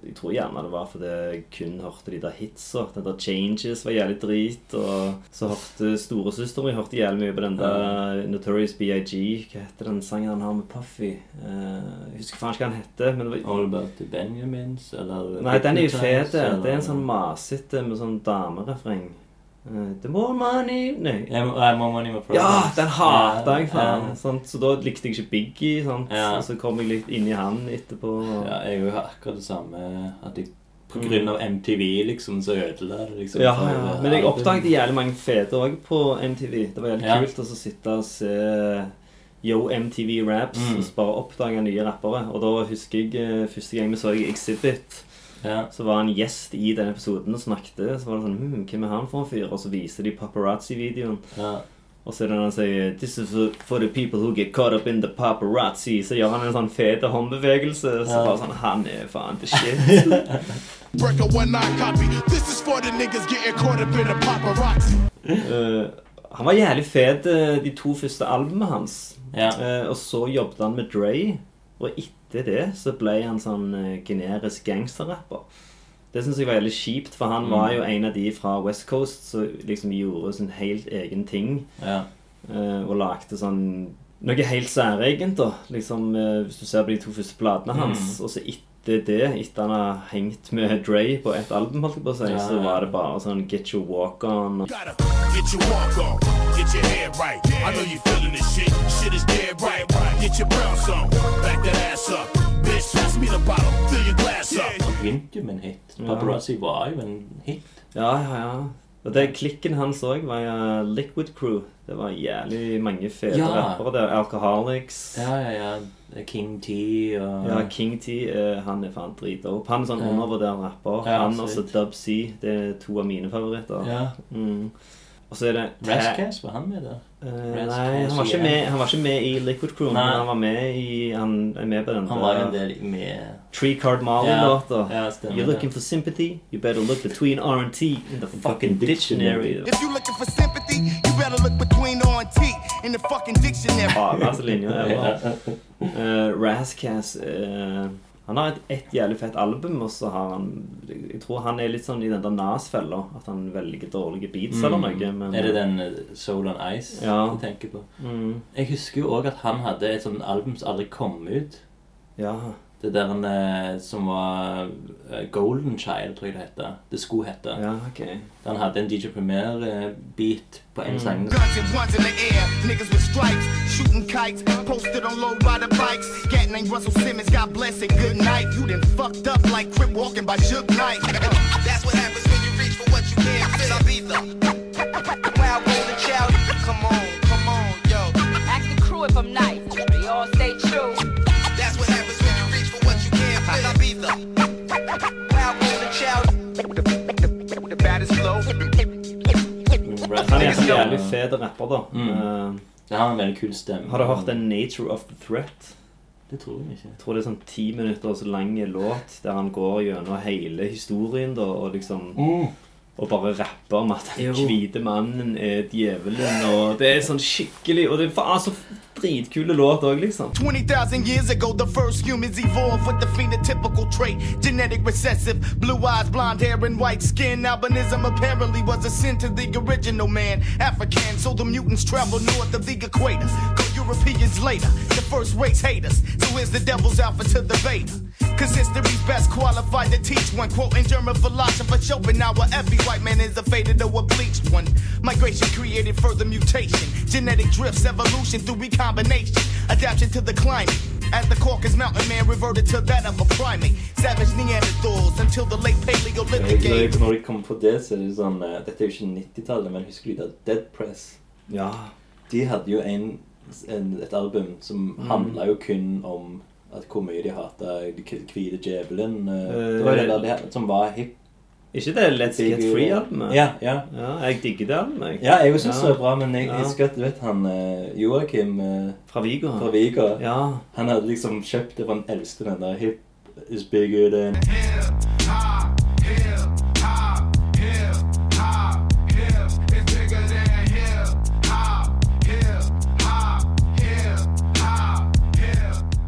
Jeg tror gjerne det var fordi jeg kun hørte de der hitsa. Den der Changes var jævlig drit. Og så hørte storesøster mi hørte jævlig mye på den der Notorious BIG. Hva heter den sangen han har med Puffy? Eh, jeg husker faen ikke hva han heter. Men det var
All About the Benjamins, eller
Nei, den er jo
Hypnotize,
fet. Det er en
eller-
sånn masete med sånn damerefreng. Eh, The more money Nei.
Ja, men- ja, More Money More Problems.
Ja, den hater jeg, faen!
Ja,
Sant? Så da likte jeg ikke Biggie, sant?
Ja.
og så kom jeg litt inn i han etterpå. og-
Ja, jeg har jo akkurat det samme at jeg på grunn av MTV liksom, så ødela det liksom.
Ja,
for,
ja.
eh,
Men jeg
album.
oppdaget jævlig mange fete òg på MTV. Det var jævlig
Ja.
kult å så sitte og se eh, Yo MTV
Mm.
Raps og så bare oppdage nye rappere. Og da husker jeg eh, første gang vi så Exhibit.
Ja.
Så var han gjest i den episoden og snakket. Så var det sånn hm, Hvem er han for en fyr? Og så viser de paparazzi-videoen.
ja.
Og så er det når han sier This is for the people who get caught up in the paparazzi. Så gjør han en sånn fete håndbevegelse. Så
Ja.
bare sånn Han er faen the shit.
Break a one nine copy. This is for the niggas getting caught up in the paparazzi.
Eh, han var jævlig fet eh, de to første albumene hans.
Ja.
Eh, og så jobbet han med Dre, og etter det så ble han sånn eh, generisk gangsterrapper. Det syns jeg var veldig kjipt, for han
Mm.
var jo en av de fra West Coast som liksom gjorde sin helt egen ting
ja.
eh, og lagde sånn noe helt særegent, da. Liksom, eh, hvis du ser på de to første platene
Mm.
hans, og så etter det, etter han har hengt med Dre på et album, holdt jeg på å si,
Ja,
så
ja.
var det bare sånn Get Your Walk On. og
Gotta get your walk on, get your head right. I know you feeling this shit. Shit is dead right. Get your brown on, back that ass up. Bitch, pass me the bottle, fill your glass up.
Begynte jo med en hit. Paparazzi var jo en hit.
Ja, ja, ja. Og det klikken hans òg var ja, Liquid Crew. Det var jævlig mange fete
Ja.
rappere der. Alcoholics.
Ja, ja, ja. King T og
Ja, King T, eh, han er faen dritdope. Han er sånn
Ja.
undervurdert rapper.
Ja,
han og så
absolutt.
Dub C. Det er to av mine favoritter.
Ja.
Mm. Og så er det Ta-
Rascas, var han med der?
Eh,
Rest
Nei, han var,
Cause
ikke
igjen.
med, han var ikke med i Liquid Crew, men
Nei.
han var med i Han er med på den
Han var jo en del med
Tree Card Marley-låta.
Ja, ja, stemmer
You're
det.
looking for sympathy, you better look between R&T and the fucking dictionary.
If you looking for sympathy, you better look between O and T in the fucking dictionary.
Faen, altså linja er bra. Uh, Razz-Caz, eh, han har et, et jævlig fett album, og så har han Jeg tror han er litt sånn i den der Nas-fella, at han velger dårlige beats eller noe. Men,
Mm. Er det den eh, Mm. Soul on Ice
Ja.
du tenker på? Jeg husker jo òg at han hadde et sånt album som aldri kom ut.
Ja.
Det der han, eh, som var eh, Golden Child, tror jeg det heter. Det skulle hete.
ja, ok.
Han hadde en DJ Premier-beat eh, på en sang.
Guns and ones in the air, niggas with stripes, shooting kites, posted on low rider bikes. Cat named Russell Simmons, God bless and good night. You done fucked up like Crip walking by Shook Knight. That's what happens when you reach for what you can't fit. I'll be the wild golden child. Come on, come on, yo.
Ask the crew if I'm nice. They all stay true.
That's what happens when you reach for what you can't fit. I'll be the wild golden child. The, the, the baddest flow.
Han er en
Rascas,
sånn
ja.
jævlig fet rapper, da.
Mm.
Eh,
Det har en veldig kul stemme.
Har du hørt den 'Nature of the Threat'?
Det tror jeg ikke.
Jeg tror det er sånn ti minutter så lang låt der han går gjennom hele historien da, og liksom Og bare rapper om at den hvite mannen er djevelen, og det er sånn skikkelig Og det er faen så dritkule låt òg, liksom.
20,000 years ago, the first humans evolved with the phenotypical trait genetic recessive, blue eyes, blonde hair, and white skin. Albinism apparently was a sin to the original man, African, so the mutants traveled north of the equator. Co Europeans later, the first race haters. So here's the devil's alpha to the beta. Cause history's best qualified to teach one. Quoting German philosopher Schopenhauer, every white man is a faded or a bleached one. Migration created further mutation. Genetic drifts, evolution through recombination. Adaption to the climate. As the Caucasus mountain man reverted to that of a primate. Savage Neanderthals until the late Paleolithic age.
Når jeg kommer på det, så er det sånn eh, Dette er jo ikke 90-tallet, men husker du da Dead Press?
Ja.
De hadde jo en, en, et album som
Mm.
handla jo kun om at hvor mye de hata hvite djevelen. eh, Det var jo det der de- som var hip.
Ikke det Let's Get Free-albumet?
Ja, ja.
ja. Jeg digger det albumet. jeg.
ja, jeg òg syns det
Ja.
er bra, men jeg
Ja.
husker at du vet han eh, Joakim eh,
Fra Vigo.
fra Viga
Ja.
Han hadde liksom kjøpt det, for han elsket den der hip is bigger than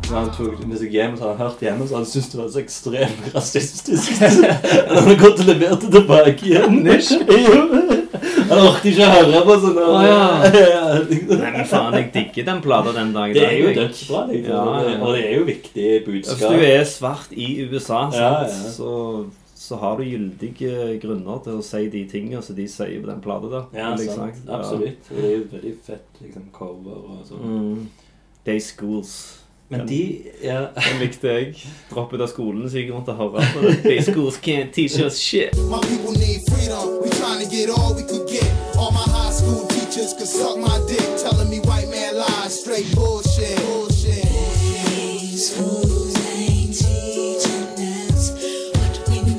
Så han tok med seg hjem, så han hørte hjemme, så han syntes det var så ekstremt rasistisk. Han hadde gått og levert det tilbake igjen. Han orket ikke å høre på sånn.
Å, ja.
Ja, liksom.
Nei, men faen, jeg digger den plata den dag i
Det
dag.
er jo
jeg.
dødsbra, liksom.
Ja, ja, ja.
Og det er jo viktig
Hvis
budskap.
Altså, du er svart i USA, sant,
Ja, ja.
Så, så har du gyldige grunner til å si de tingene som de sier på den plata der.
Ja,
Veldig
sant.
sagt.
Absolutt. Og det er jo et veldig fett liksom, cover og sånn.
Mm. Day Schools.
Men de ja.
Den likte jeg. Dropp ut av skolen, så jeg måtte høre på det. Day Schools can't teach us shit.
My people need freedom. We trying to get all we could get. All my high school teachers could suck my dick, telling me white man lies, straight bullshit. bullshit.
These fools ain't teaching us what we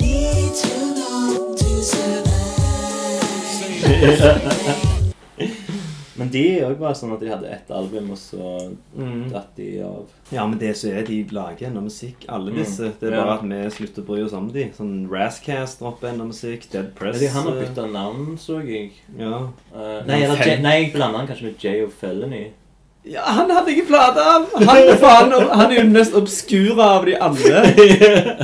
Men de òg var sånn at de hadde ett album, og så
Mm.
datt de av.
Ja, men det som er, de lager ennå musikk, alle
Mm.
disse. Det er
Ja.
bare at vi slutter å bry oss om de. Sånn Rascast dropper ennå musikk, Dead Press
Men de, han har
eh,
bytta navn, så jeg.
Ja.
Eh, nei, eller, J- nei, jeg blanda han kanskje med J og Felony.
ja, han hadde ikke plate! Han, han, er faen, han er jo den mest obskure av de alle.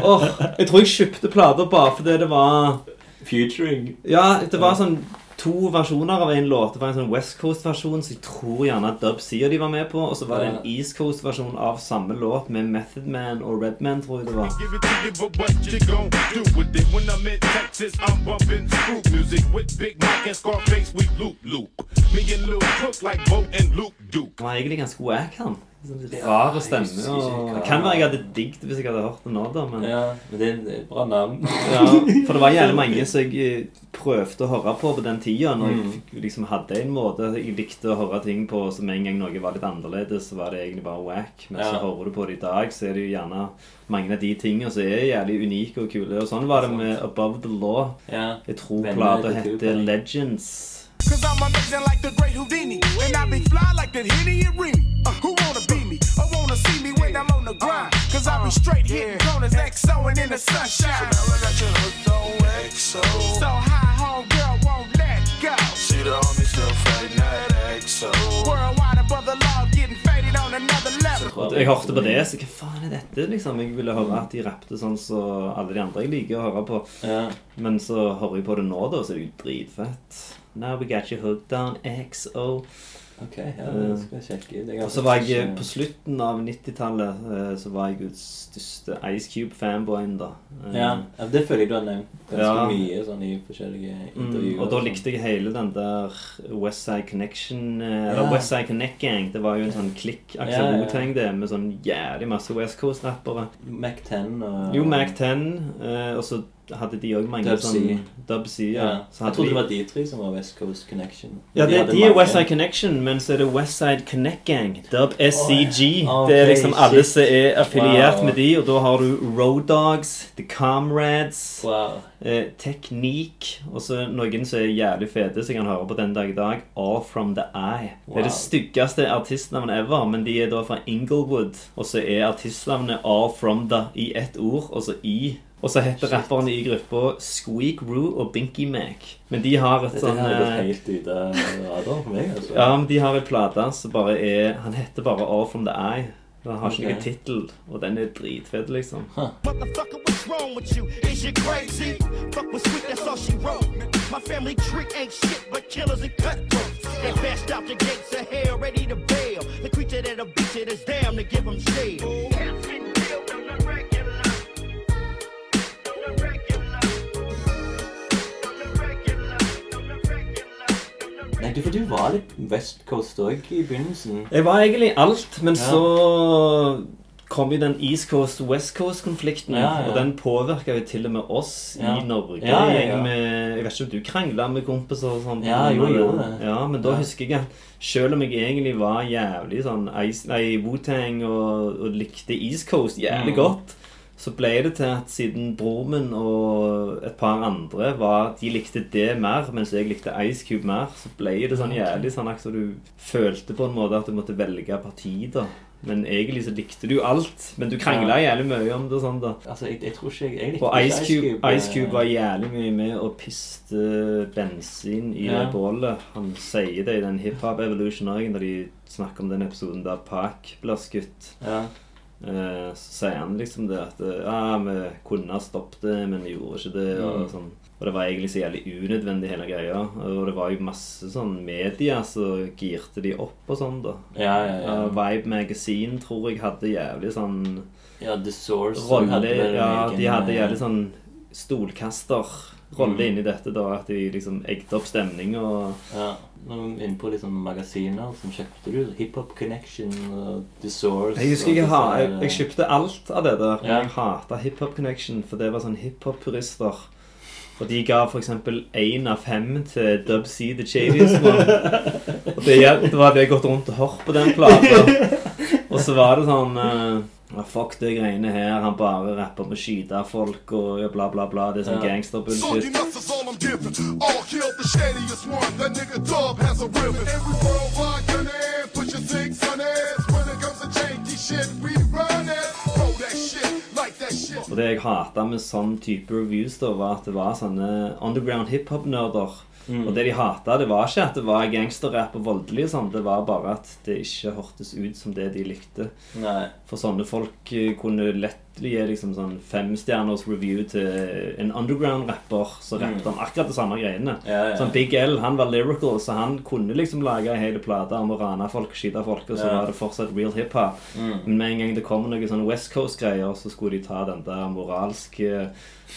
Åh, jeg tror jeg kjøpte plater bare fordi det var
Futuring.
Ja, det var sånn to versjoner av en låt. Det var en sånn West Coast-versjon, så jeg tror gjerne at Dub Sea de var med på. Og så var det en East Coast-versjon av samme låt med Method Man og Redman, tror jeg det var.
Give it to you, but what you gon' do with it? When I'm in Texas, I'm bumping screw music with Big Mike and Scarface. We loop loop. Me and Lil Cook like Bo and Luke Duke.
Han var egentlig ganske wack, han. Sånn Rar
jeg
stemme.
husker ikke
Og...
hva-
Kan være jeg hadde digget det hvis jeg hadde hørt det nå, da, men
Ja, men det er det er
eh,
et bra navn.
ja, For det var jævlig mange som jeg eh, prøvde å høre på på den tida, når
Mm.
jeg fikk- liksom hadde en måte jeg likte å høre ting på som en gang noe var litt annerledes, så var det egentlig bare wack. Men så
Ja.
hører du på det i dag, så er det jo gjerne mange av de tingene som er jævlig unike og kule. Og sånn var det med Above the Law.
Ja.
Jeg tror
Venner
plata
til
heter
Tupac.
Legends.
Cause I'm amazing like the great Houdini. And I be fly like the Henny and Remy. Uh, who wanna be me? Or wanna see me when I'm on the grind? Cause I be straight hitting corners, XO and in the sunshine. So now I got your hooked on XO. So high, homegirl won't let go. See the homie still fading that XO. Worldwide above the law, getting faded on another level.
Og Jeg hørte på det, så hva faen er dette? liksom? Jeg ville høre at de rappte sånn som alle de andre jeg liker å høre på.
Ja.
Men så hører jeg på det nå, da, så er det jo dritfett. Now we got you hooked on XO.
Ok, ja, det skal jeg sjekke ut. Jeg har
Eh. Og så var
faktisk
jeg eh,
ikke-
på slutten av 90-tallet eh, så var jeg Guds største Ice Cube-fanboyen, da. Eh,
Ja, ja, det føler jeg du har nevnt ganske
Ja.
mye sånn i forskjellige intervjuer.
Mm, og da
sånn.
likte jeg hele den der West Side Connection eh,
Ja.
Eller West Side Connect Gang. Det var jo en sånn klikk Axel
Ja, ja, ja.
Wu-Tang, det, med sånn jævlig masse West Coast-rappere.
Mac 10 og
Jo, Mac 10, eh, og så hadde de òg mange
Dub C.
sånn Dub C. Ja. Så
Jeg
hadde
trodde
de-
det var de tre som var West Coast Connection.
Ja,
De
det,
hadde
de er
mange.
West Side Connection, men så er det West Side Connect Gang. Dub SCG.
Oi, ok,
det er liksom alle
Ah, shit.
som er affiliert
Wow.
med de, og da har du Road Dogs, The Comrades,
Wow.
eh, Teknik, og så noen som er jævlig fete, som jeg kan høre på den dag i dag. All From The Eye. Det er
Wow.
det styggeste artistnavnet ever, men de er da fra Inglewood, og så er artistnavnet All From The i ett ord, og så I. Og så heter rapperne i gruppa Squeak Roo og Binky Mac. Men de har et
Dette
sånn
her er gått
eh,
helt ut av radaren for meg, altså.
ja, men de har en plate som bare er Han heter bare All From The Eye. Den har ikke
Ok.
noen tittel, og den er dritfet, liksom.
Motherfucker, what's wrong with you? Is you crazy? Fuck was sweet, that's all she wrote. My family tree ain't shit but killers and cutthroats. They bashed out the gates of hell, ready to bail. The creature that'll beat you that's damn to give them shade.
Nei, du, for du var litt West Coast òg i begynnelsen.
Jeg var egentlig alt, men
Ja.
så kom jo den East Coast-West Coast-konflikten,
Ja, ja.
og den påvirka jo til og med oss
Ja.
i Norge.
Ja, ja, ja.
Jeg, med, jeg vet ikke om du krangla med kompiser og sånn?
Ja, jo, jo, det.
Ja, men da
Ja.
husker jeg at selv om jeg egentlig var jævlig sånn Ice- nei, Wu-Tang og, og likte East Coast jævlig
Mm.
godt, så ble det til at siden broren min og et par andre var, de likte det mer, mens jeg likte Ice Cube mer, så ble det sånn jævlig sånn at du følte på en måte at du måtte velge parti, da. Men egentlig så likte du alt, men du krangla jævlig mye om det og sånn, da.
Altså, jeg, jeg tror ikke jeg, jeg likte
Og
ikke
Ice Cube,
eh,
Ice Cube var jævlig mye med og piste bensin i
Ja.
det bålet. Han sier det i den hiphop evolution også, når de snakker om den episoden der Park blir skutt.
ja.
Eh, Så sier han liksom det at eh, ja, vi kunne ha stoppet det, men vi gjorde ikke det.
Mm.
Og, sånn. og det var egentlig så jævlig unødvendig, hele greia. Og det var jo masse sånn media som girte de opp og sånn, da.
Ja, ja, ja.
Eh, Vibe Magazine tror jeg hadde jævlig sånn
ja, The Source
rolle
hadde vel en
Ja,
egen,
de hadde
eh, Mm.
jævlig sånn stolkasterrolle inni dette, da. At de liksom egget opp stemninga og
Ja, nå er vi inne på litt sånne magasiner som kjøpte du. Hiphop Connection og The Source.
Jeg husker jeg,
og
ha,
disse
jeg,
her,
jeg kjøpte alt av det der, men
Ja.
jeg hata Hiphop Connection, for det var sånn hiphop-purister. Og de ga f.eks. én av fem til Dub C The Chadies. Og det, gjel- det var det jeg gått rundt og hørt på den plata. Og så var det sånn eh, ah, Fuck det greiene her. Han bare rapper med å skyte folk og bla, bla, bla. Det er sånn
Ja.
gangster-bullshit.
nuts is all all I'm giving. All killed the shadiest one. That nigga Dub has a ribbon. Every worldwide gunner, put your six on it. When it comes to janky shit, we run it. Throw that shit, like that shit.
Og Altså, det jeg hata med sånn type reviews, da, var at det var sånne underground hiphop-nerder. Og det de hata, det var ikke at det var gangsterrap og voldelig, og sånn. det var bare at det ikke hørtes ut som det de likte.
Nei.
For sånne folk eh, kunne lett gi liksom sånn femstjerners review til en underground-rapper som rappet om akkurat de samme greiene.
Mm. Ja, ja.
Sånn Big L han var lyrical, så han kunne liksom lage en hel plate om å rane folk, skyte folk, og så
Ja.
var det fortsatt real hiphop.
Mm.
Men med en gang det kommer noen sånne West Coast-greier, så skulle de ta den der moralske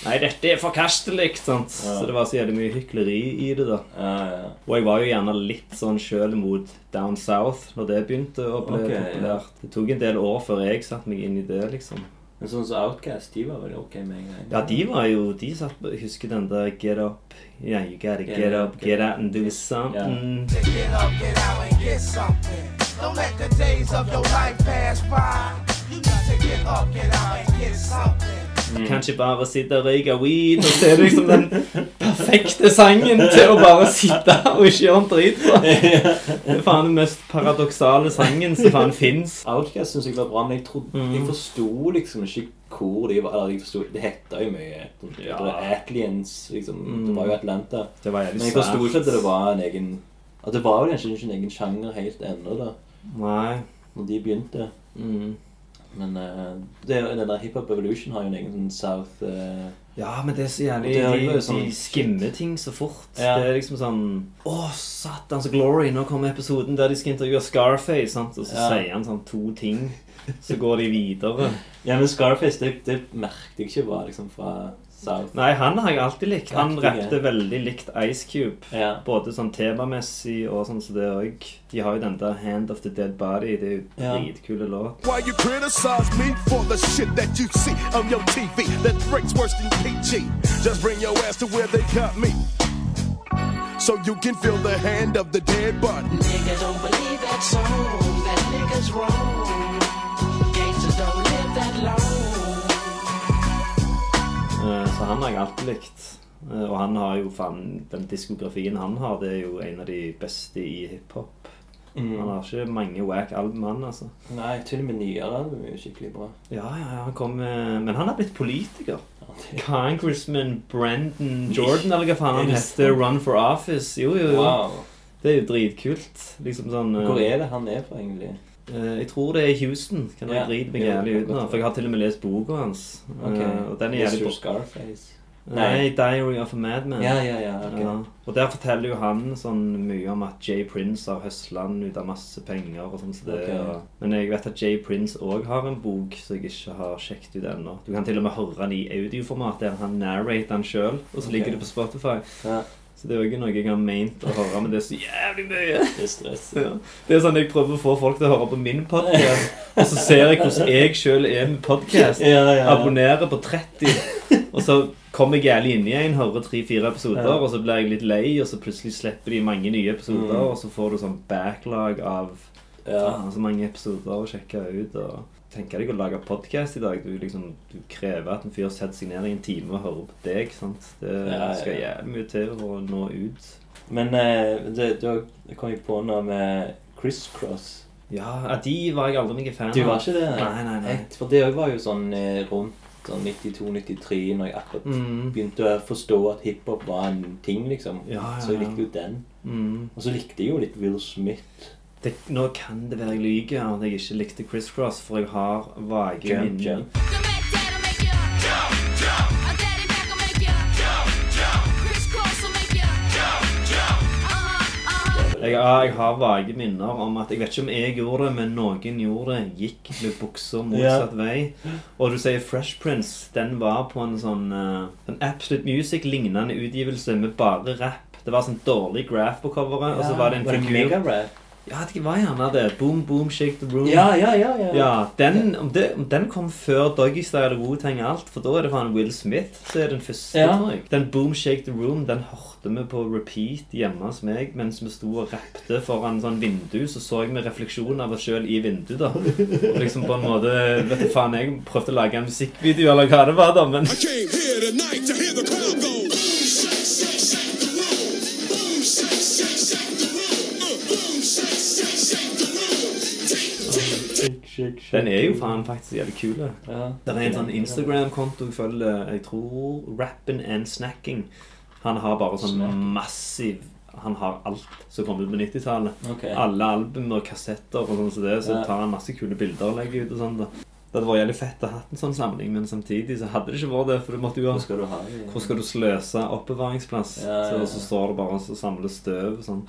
Nei, dette er forkastelig! sant? Så det var så jævlig mye hykleri i det, da. Og jeg var jo gjerne litt sånn sjøl mot Down South når det begynte å bli
Ok, ja.
populært. Det tok en del år før jeg satte meg inn i det, liksom.
Men sånn som Outcast, de var vel ok med en gang?
Ja, de var jo De satt på Jeg husker den der Get up. Yeah, you gotta get, up, get out and do something.
To get up, get out, and get something. Don't let the days of your life pass by. You need to get up, get out, and get something.
Mm.
Du kan ikke bare sitte og røyke weed, og så er det liksom den perfekte sangen til å bare sitte og ikke gjøre en drit på. Det er faen den mest paradoksale sangen som faen fins.
Outcast synes jeg var bra, men jeg, trodde,
Mhm.
jeg forsto liksom ikke hvor de var. Eller jeg forsto, det hette jo mye. Det var Atlians, liksom. Det var jo Atlanta.
Mhm. Det var jævlig
men jeg forsto
svært.
ikke at det var en egen At det var jo kanskje ikke en egen sjanger helt ennå, da.
Nei.
Når de begynte. Mm. Men eh, det, er jo- den der Hiphop Evolution har jo en egen sånn South eh,
Ja, men det er så
og
jævlig
det er jo
De,
sånn-
de skimmer ting så fort.
Ja.
Det er liksom sånn Å, satans glory! Nå kommer episoden der de skal intervjue Scarface, sant? og så
Ja.
sier han sånn to ting. Så går de videre.
Ja, men Scarface, det, det merket jeg ikke var liksom fra South.
Nei, han har jeg alltid likt. Han
Aktige.
rappte veldig likt Ice Cube.
Ja.
Både sånn temamessig og sånn som det òg. De har jo den der 'Hand of the Dead Body'. Det er jo
Ja.
dritkule låt.
Why you criticize me for the shit that you see on your TV that breaks worse than PG? Just bring your ass to where they got me. So you can feel the hand of the dead body.
Nigga don't believe that song. That nigga's wrong. Gangsters don't live that long.
Eh, Så han har jeg alltid likt. Eh, Og han har jo faen Den diskografien han har, det er jo en av de beste i hiphop.
Mm.
Han har ikke mange wack album, han, altså.
Nei, til og med nyere album er jo skikkelig bra.
Ja, ja, ja, han kom med Men han har blitt politiker. Congressman Brandon Jordan, eller hva faen
Er
han
det
heter.
sant?
Run for office. Jo, jo, jo.
Wow.
Det er jo dritkult. Liksom sånn eh,
Hvor er det han er fra, egentlig?
Eh, jeg tror det er i Houston. Kan jeg
Ja,
drite meg
ja,
jævlig
det
ut
kan
nå?
godt
For jeg har til og med lest boka hans. Eh,
Ok.
og den er
Mr.
jævlig bra. Mm.
Scarface?
Nei, 'Diary of a Madman'.
Ja, ja, ja, ok.
Og der forteller jo han sånn mye om at Jay Prince har høsla han ut av masse penger og sånn. Så det,
Ok.
og- Men jeg vet at Jay Prince òg har en bok som jeg ikke har sjekket ut ennå. Du kan til og med høre han i audioformat der han narrater han sjøl, og så
Ok.
ligger det på Spotify.
Ja.
Så det er jo ikke noe jeg har meint å høre, men det er så jævlig mye.
Det er stress.
Ja. Det er sånn jeg prøver å få folk til å høre på min podcast og så ser jeg hvordan jeg sjøl er med podcast
Ja, ja, ja.
Abonnerer på 30, og så kommer jeg jævlig inn igjen, hører tre-fire episoder,
Ja.
og så blir jeg litt lei, og så plutselig slipper de mange nye episoder,
Mm.
og så får du sånn backlog av
Ja.
faen, så mange episoder å sjekke ut. og Tenker deg å lage podcast i dag. Du, liksom, du krever at en fyr setter seg ned i en time og hører på deg. sant? Det
Ja, ja,
skal
ja.
jævlig mye til for å nå ut.
Men eh, det, da kom jeg på noe med Criss Cross.
Ja, ja, de var jeg aldri noen fan av.
Du var ikke det?
Nei, nei, nei.
Et, for det òg var jo sånn eh, rundt sånn 92-93, når jeg akkurat
Mm.
begynte å forstå at hiphop var en ting, liksom.
Ja, ja,
Så jeg
ja.
likte jo den.
Mm.
Og så likte jeg jo litt Will Smith.
Det, nå kan det være jeg lyver at jeg ikke likte Criss Cross, for jeg har vage
Jump,
minner.
jump.
Jeg, har- jeg har vage minner om at Jeg vet ikke om jeg gjorde det, men noen gjorde det. Gikk med buksa motsatt vei. Og du sier Fresh Prince. Den var på en sånn eh, En Absolute Music-lignende utgivelse med bare rap. Det var sånn dårlig graph på coveret, og så var det en figur
megarap?
Ja, det var gjerne det. Boom, boom, shake the room.
Ja, ja, ja, ja.
Ja, den, om, det, om den kom før Doggy Style og Wu-Tang alt, for da er det faen Will Smith som er den første.
Ja.
tror jeg. Den Boom Shake the Room den hørte vi på repeat hjemme hos meg mens vi sto og rappte foran sånn vindu, så så vi refleksjonen av oss sjøl i vinduet, da. Og liksom på en måte Vet du faen, jeg prøvde å lage en musikkvideo eller hva det var, da, men
I came here tonight to hear the crowd go. Boom, shake, shake,
Shake, shake, shake.
Den er jo faen faktisk jævlig kul.
Ja.
Det er en sånn Instagram-konto jeg følger. Jeg tror Rappin' and Snacking. Han har bare sånn massiv Han har alt som kom ut på 90-tallet.
Ok.
Alle album og kassetter og sånn som det. Så
Ja.
tar han masse kule bilder og legger ut og sånn. da. Det hadde vært jævlig fett å ha hatt en sånn samling, men samtidig så hadde det ikke vært det. For du måtte jo
Hvor skal du ha det?
Hvor skal du sløse oppbevaringsplass?
Ja, ja, ja.
Så, så står det bare og samler støv og sånn.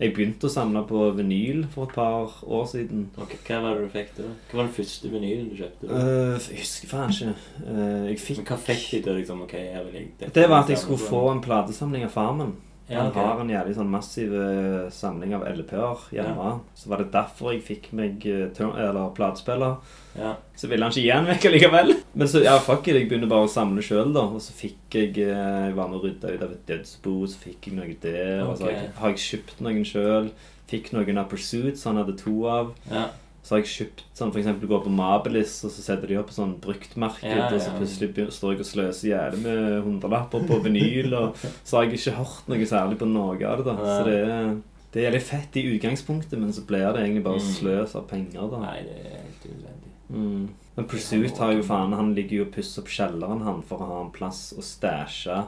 Jeg begynte å samle på vinyl for et par år siden.
Ok, Hva var det du fikk da? Hva var den første vinylen du kjøpte? da?
Eh, jeg husker faen ikke. Eh, jeg fikk
Men hva fikk de da, liksom? Ok, her vil jeg... dette
Det var at
vil
jeg skulle
samle
få
på.
en platesamling av far min.
Ja, ok.
Han har en jævlig sånn massiv eh, samling av LP-er hjemme. Så var det derfor jeg fikk meg eh, turn- eller platespiller.
Ja.
Så ville han ikke gi den vekk likevel. Men så ja, fuck it, jeg begynner bare å samle sjøl, da. Og så fikk jeg eh, Jeg var med og rydda ut av et dødsbo, så fikk jeg noe der. Og så har jeg,
Ok.
har jeg kjøpt noen sjøl. Fikk noen av Pursuits, han hadde to av.
Ja.
Så har jeg kjøpt sånn, for eksempel går på Mabelis, og så setter de opp på sånn bruktmarked,
Ja, ja.
og så plutselig begyn- står jeg og sløser jævlig med hundrelapper på vinyl, og så har jeg ikke hørt noe særlig på noe av det, da. Så det er, det er litt fett i utgangspunktet, men så blir det egentlig bare
Mm.
sløs av penger, da.
Nei, det er helt unødvendig.
Mm. Men Pursuit har jo faen Han ligger jo og pusser opp kjelleren han for å ha en plass å stæsje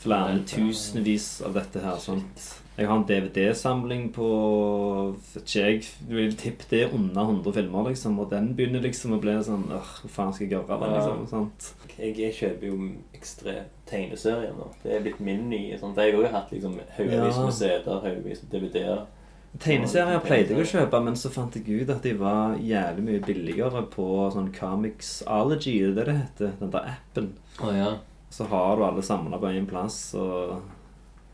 flere tusenvis av dette her. Sant? Jeg har en DVD-samling på vet ikke jeg vil tippe det er under 100 filmer, liksom. Og den begynner liksom å bli sånn Åh, hva faen skal jeg gjøre av den, liksom? Sant?
Jeg, jeg kjøper jo ekstremt tegneserier nå. Det er blitt min nye sånn. Jeg har jo hatt liksom haugevis
Ja.
med CD-er, haugevis med DVD-er.
Tegneserier pleide jeg å kjøpe, men så fant jeg ut at de var jævlig mye billigere på sånn Comicsology, er det det det heter? Den der appen.
Å, ja.
Så har du alle samla på én plass, og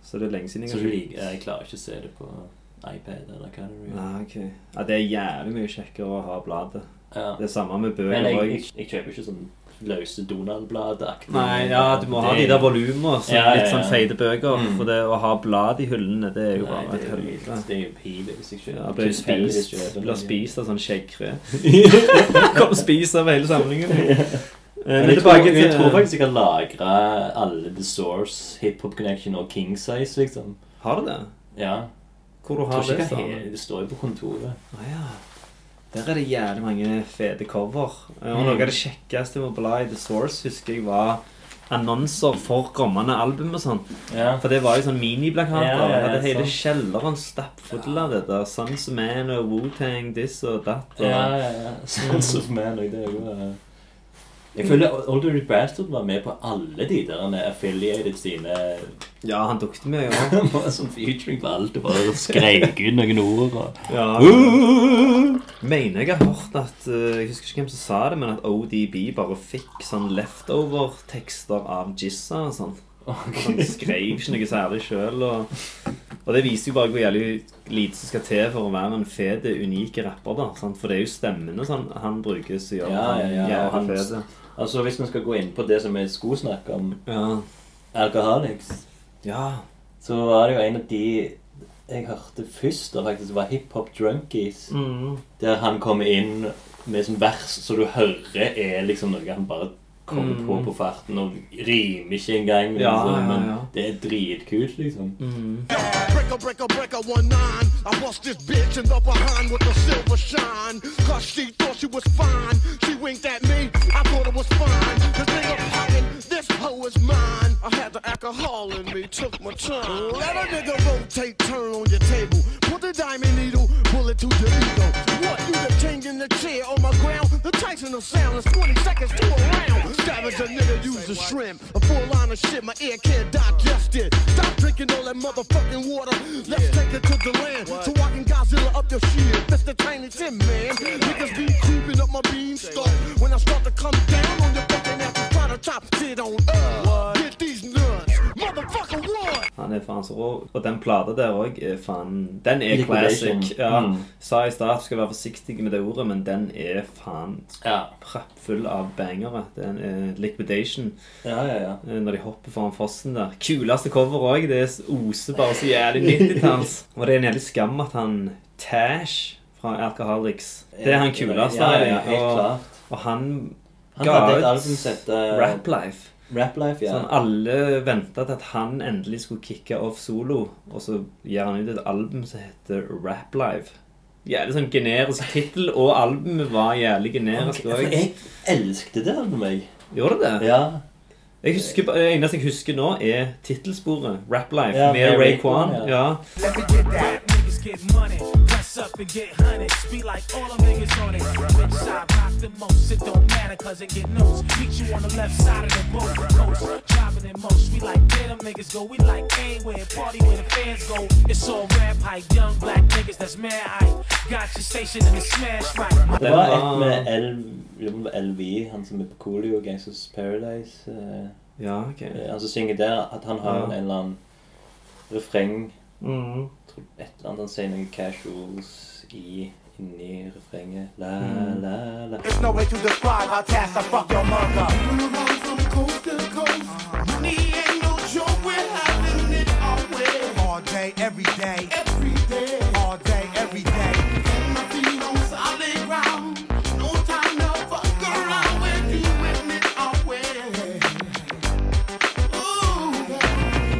så det er lenge siden jeg
Så
har
du
kjøpt.
liker, jeg klarer ikke å se det på iPad eller hva det er.
Nei, ok. Ja, det er jævlig mye kjekkere å ha bladet.
Ja.
Det er samme med
Men
bøker
jeg, jeg,
òg.
jeg kjøper ikke sånn løse Donald-blad-aktig.
Nei, ja, du må ha de der volumene, så
Ja, ja,
litt sånn
ja.
feite bøker.
Mm.
For det å ha blad i hyllene, det er jo
Nei,
bare
det
et
er jo
helvete.
helt- det er jo pinlig hvis jeg kjøper.
Ja, blir
Hvis jeg helst
spist,
kjøper
blir
den, ja.
spist av sånn skjeggkre. Kom og spis av hele samlingen. Eh,
Men
Men
jeg, tror,
tilbake til
jeg tror faktisk jeg kan lagre alle The Source, Hip Hop Connection og King Size, liksom.
Har du det?
Ja.
Hvor du har
Tror ikke
det
jeg
fra?
har he- Det står jo på kontoret.
Ah, ja. Der er det jævlig mange fete cover. Eh, Og
Mm.
noe av det kjekkeste med Bly The Source husker jeg var annonser for kommende album og sånn.
Ja.
For det var jo sånn miniplakater.
Ja, ja, ja,
Jeg hadde hele
sant.
kjelleren stappfull av det der. Sons of Man og Wu-Tang, this og that. Og...
Ja, ja, Mm. ja. Sons of Man og det er jo eh, Jeg føler Older Bastard var med på alle de der han er affiliated sine
Ja, han dukte med, ja.
Han var sånn featuring på alt og bare skrek ut noen ord og
Ja. Mener jeg har hørt at eh, Jeg husker ikke hvem som sa det, men at ODB bare fikk sånn leftover-tekster av Jizza og sånn. Han skrev ikke noe særlig sjøl. Og, og det viser jo bare hvor jævlig lite som skal til for å være en fet, unik rapper. da sant? For det er jo stemmene sånn, han bruker som gjør
Ja,
han
ja, ja. og
jævlig
hans-
fet.
Altså, hvis vi skal gå inn på det som vi skulle snakke om,
Ja.
Alcoholics,
ja.
så var det jo en av de jeg hørte først, da faktisk var Hip Hop Drunkies.
Mm.
Der han kommer inn med sånn vers så du hører er liksom noe han bare kommer på på farten og rimer ikke engang.
Mm. Ja,
Liksom,
ja,
Men
ja. Mm.
det er dritkult, liksom.
Breaker, breaker, breaker, one nine. I bust this bitch in the behind with the silver shine. Cause she thought she was fine. She winked at me, I thought it was fine. This nigga plotting, this hoe is mine. I had the alcohol in me, took my time. Let a nigga rotate, turn on your table. Put the diamond needle, bullet to your ego. What, you the king in the chair on my ground? The Tyson of sound is 20 seconds to a round. Savage a nigga, use the shrimp. A full line of shit, my ear can't digest it. Stop drinking all that motherfucking water. Let's take it to the land. So I can Godzilla up your shit. That's the tiny tin man. Niggas be creeping up my beanstalk. When I start to come down on your fucking ass, try to top shit on up. Get these nuts. Motherfucker, what?
Han er faen så rå. Og den plata der òg er faen Den er
Liquidation.
classic. Ja.
Mm.
Sa i stad at du skal være forsiktig med det ordet, men den er faen
Ja.
prappfull av bangere. Den er liquidation.
Ja, ja, ja.
Eh, Når de hopper foran fossen der. Kuleste cover òg. Det er s- oser bare så jævlig 90-talls. Og det er en jævlig skam at han Tash fra Alcoholics Det er han kuleste.
Ja, ja, ja,
av de,
helt
og-
klart.
Og han
Han
ga
hadde et
ut
album som heter-
Rap Life.
Rap Life, ja.
Sånn, alle venta til at han endelig skulle kicke off solo, og så gir han ut et album som heter Rap Live. jævlig sånn generisk tittel, og albumet var jævlig generisk
Ok, for
òg.
jeg elsket det albumet, jeg.
Gjorde det?
Ja.
Jeg husker, bare- det eneste jeg husker nå, er tittelsporet. Rap Life
Ja,
med
med
Ray
Raekwon,
Kwan.
ja.
Ja.
Let me get that. Niggas get money, press up and get honey. Be like all the niggas on it. Which side rock the most? It don't matter cause it get news. Meet you on the left side of the boat. Coast, driving in most. We like where them niggas go. We like anywhere. Party where the fans go. It's all rap hype. Young black niggas that's mad hype. Got your station in the smash right.
Det var et med L, jeg lurer på om LV, han som er på Coolio, Gangsters Paradise. eh,
Ja, ok.
eh, Han som synger der, at han har
Ja.
en eller annen refreng.
Mhm.
Jeg tror Et eller annet han sier noen casuals i, inni refrenget. La,
Mm.
Mhm.
la, la.
There's no way to describe how fast I fuck your mother.
All day, every day. Every day. All day, every day. And my feet on solid ground. No time to fuck around with you with me always.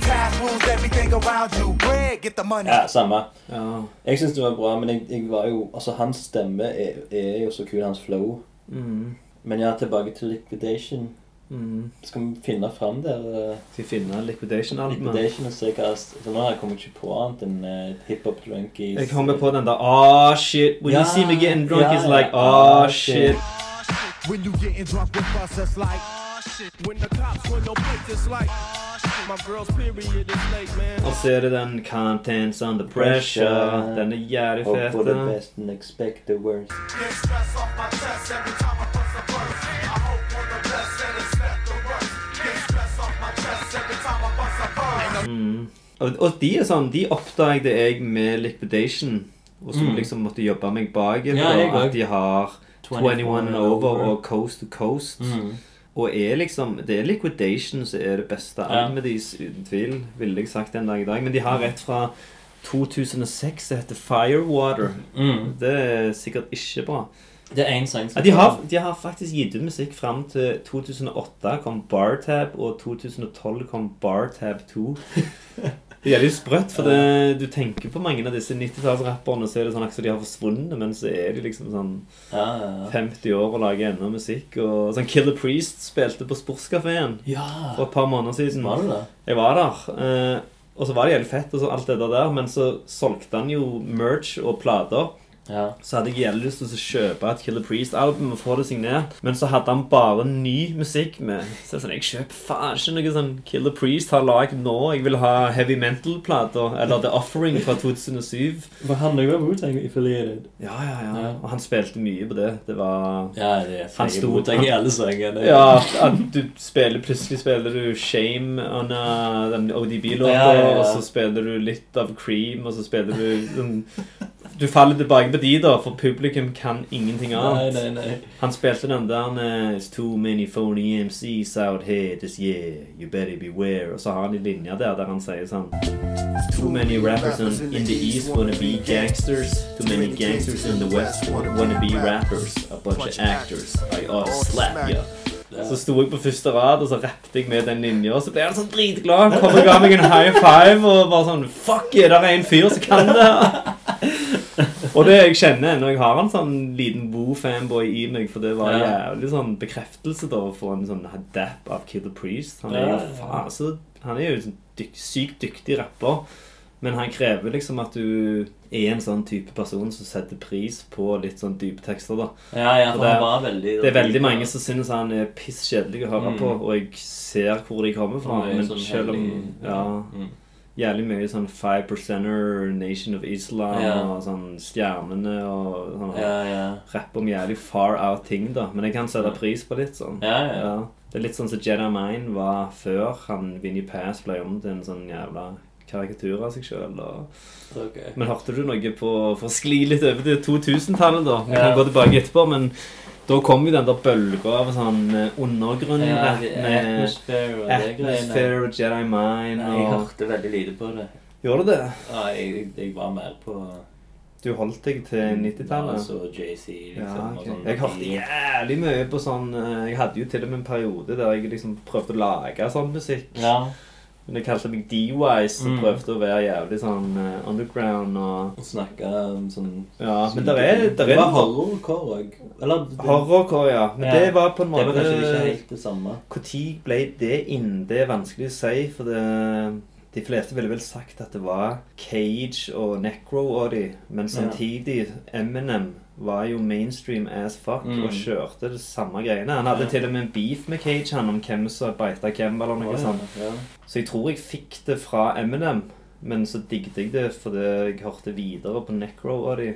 Task rules everything around you. Bread, get the money.
Ja, samme.
Ja.
Jeg syns det var bra, men jeg, jeg var jo Altså, hans stemme er, er jo så kul, hans flow.
Mhm.
Men ja, tilbake til Liquidation.
Mhm.
Skal vi finne fram der? eh,
Skal vi finne Liquidation-albumet?
Liquidation og se hva altså, Nå har jeg kommet ikke på annet enn eh, hiphop drunkies.
Jeg kommer på den der Ah, shit. When
Ja,
you see me getting drunk,
ja,
it's like
ja.
Ah,
Ah,
shit.
shit.
When you getting drunk with us, it's like
Oh,
when the cops when no plate, it's like my girl's period is late, man.
Og så er det den Contents Under Pressure. Den er jævlig
Hope for the
fet. eh.
best and expect the worst.
Get stress off my chest every time I bust a verse. I hope for the best and expect the worst. Get stress off my chest every time I bust a verse.
Mm. Og, og de er sånn, de oppdaget jeg med Liquidation. Og som
Mm.
liksom måtte jobbe meg bak.
Ja, jeg
at
også.
de har
21
21 and Over
Over.
og Coast to Coast.
Mm.
Og er liksom, det er Liquidation som er det beste
Ja.
albumet deres, uten tvil. Ville jeg sagt den dag i dag. Men de har et fra 2006 som heter Firewater.
Mm.
Det er sikkert ikke bra.
Det er en sang som
ja, de, har, de har faktisk gitt ut musikk fram til 2008 kom Bartab, og 2012 kom Bartab 2. Det er litt sprøtt, for det, du tenker på mange av disse 90-tallsrapperne, og så er det sånn akkurat som de har forsvunnet, men så er de liksom sånn
Ja, ja, ja.
50 år og lager ennå musikk. Og sånn Killer Priest spilte på Sportskafeen
Ja.
for et par måneder siden.
Var du der?
Jeg var der. eh, Og så var det jævlig fett, og så alt det der, men så solgte han jo merch og plater. Så hadde jeg jævlig lyst til å kjøpe et Killer Priest-album og få det signert. Men så hadde han bare ny musikk med. Så jeg sånn, jeg kjøper faen ikke noe sånn Killer Priest har lagd nå. Jeg vil ha Heavy Mental-plater. Eller The Offering fra 2007.
Var han òg Wu-Tang affiliated?
Ja, ja, ja, Og han spilte mye på det. Det var
Ja, det er
Han sto-
Wu-Tang i alle sangene.
Ja, at du spiller Plutselig spiller du Shame on uh, den ODB-låta,
Ja, ja, ja.
og så spiller du litt av Cream, og så spiller du sånn Du faller tilbake på de, da, for publikum kan ingenting annet.
Nei, nei, nei.
Han spilte den der eh, It's too many phony MCs out here this year, you better beware. Og så har han en linje der der han sier sånn It's too many rappers in, in the east wanna be gangsters. Too many gangsters in the west wanna be rappers. A bunch of actors. I ought to slap ya. Så sto jeg på første rad, og så rappet jeg med den linja, og så ble han sånn dritglad. Han kom og ga meg en high five, og bare sånn Fuck yeah, der er en fyr som kan det! Og det jeg kjenner når jeg har en sånn liten Woo-fanboy i meg, for det var
Ja.
jævlig sånn bekreftelse da å få en sånn dap av Kid the Priest. Han er
Ja,
jo
ja, ja.
faen så Han er jo en dyk, sykt dyktig rapper, men han krever liksom at du er en sånn type person som setter pris på litt sånn dype tekster, da.
Ja, ja, for
det,
han var veldig-
Det er veldig mange som syns han er piss kjedelig å høre
Mm.
på, og jeg ser hvor de kommer fra,
Han er jo
men
sånn
selv om
hellig- Mm.
Ja. Jævlig mye sånn Five Percenter, Nation of Islam
Ja.
og sånn Stjernene og sånn
Ja, ja.
rapp om jævlig far out ting, da. Men jeg kan sette pris på litt sånn.
Ja, ja, ja.
Det er litt sånn som Jedi Mine var før han Vinnie Pass ble om til en sånn jævla karikatur av seg sjøl.
Ok.
Men hørte du noe på For å skli litt over til 2000-tallet, da. Vi kan
Ja.
gå tilbake etterpå, men da kom jo den der bølga av sånn eh, undergrunn-rapp
Ja, det-
med
Atmosphere og det greiene.
Atmosphere og Jedi Mine
Nei,
og
jeg hørte veldig lite på det.
Gjorde du det?
Ja, jeg, jeg var mer på
Du holdt deg til 90-tallet?
Ja, så Jay-Z, liksom.
Eh, Ja, ok.
og sånn.
Jeg hørte jævlig mye på sånn eh, Jeg hadde jo til og med en periode der jeg liksom prøvde å lage sånn musikk.
Ja.
Men jeg kalte meg D-Wise og
Mm.
prøvde å være jævlig sånn eh, underground og
Snakke om sånn
Ja, men der er, der
Det
er
var horrorcore òg. Eller
Horrorcore, ja. Men
Ja.
det var på en måte
Det var kanskje ikke helt det samme.
Når ble det inn? Det er vanskelig å si, for det, de fleste ville vel sagt at det var Cage og Necro og de, men samtidig Eminem var jo mainstream as fuck
Mm.
og kjørte det samme greiene. Han hadde
Ja.
til og med en beef med Cage han om hvem som beita hvem eller noe
Å, ja,
sånt.
ja.
Så jeg tror jeg fikk det fra Eminem, men så digget jeg det fordi jeg hørte videre på Necro og de.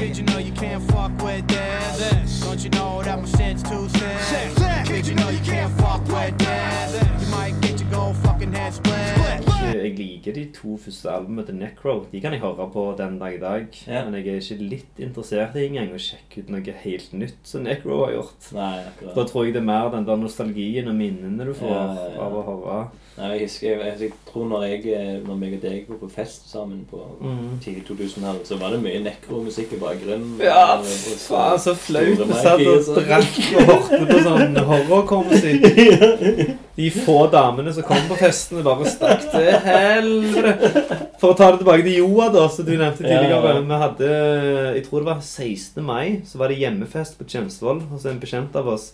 Did you know you can't fuck with this? Don't you know that my shit's too sick? Did you know you can't fuck with this? You might get your gold fucking head split.
Eh, Jeg liker de to første albumene til Necro. De kan jeg høre på den dag i dag. Men jeg er ikke litt interessert i engang å sjekke ut noe helt nytt som Necro har gjort.
Nei, akkurat.
da tror jeg det er mer den der nostalgien og minnene du får
Ja, ja, ja.
av å høre.
Nei, jeg husker, jeg, altså, jeg, tror når jeg, eh, når meg og deg var på fest sammen på
Mhm.
tidlig 2000-tallet, så var det mye nekromusikk i bakgrunnen.
Ja,
Og- og
faen, så flaut.
store
Vi satt
mic-er
og
sånn.
drakk og hørte på sånn horrorkommusikk. De få damene som kom på festene, bare stakk til helvete. For å ta det tilbake til Joa, da, som du nevnte
Ja, ja.
tidligere. Vi hadde, jeg tror det var 16. mai, så var det hjemmefest på Tjensvoll hos en bekjent av oss.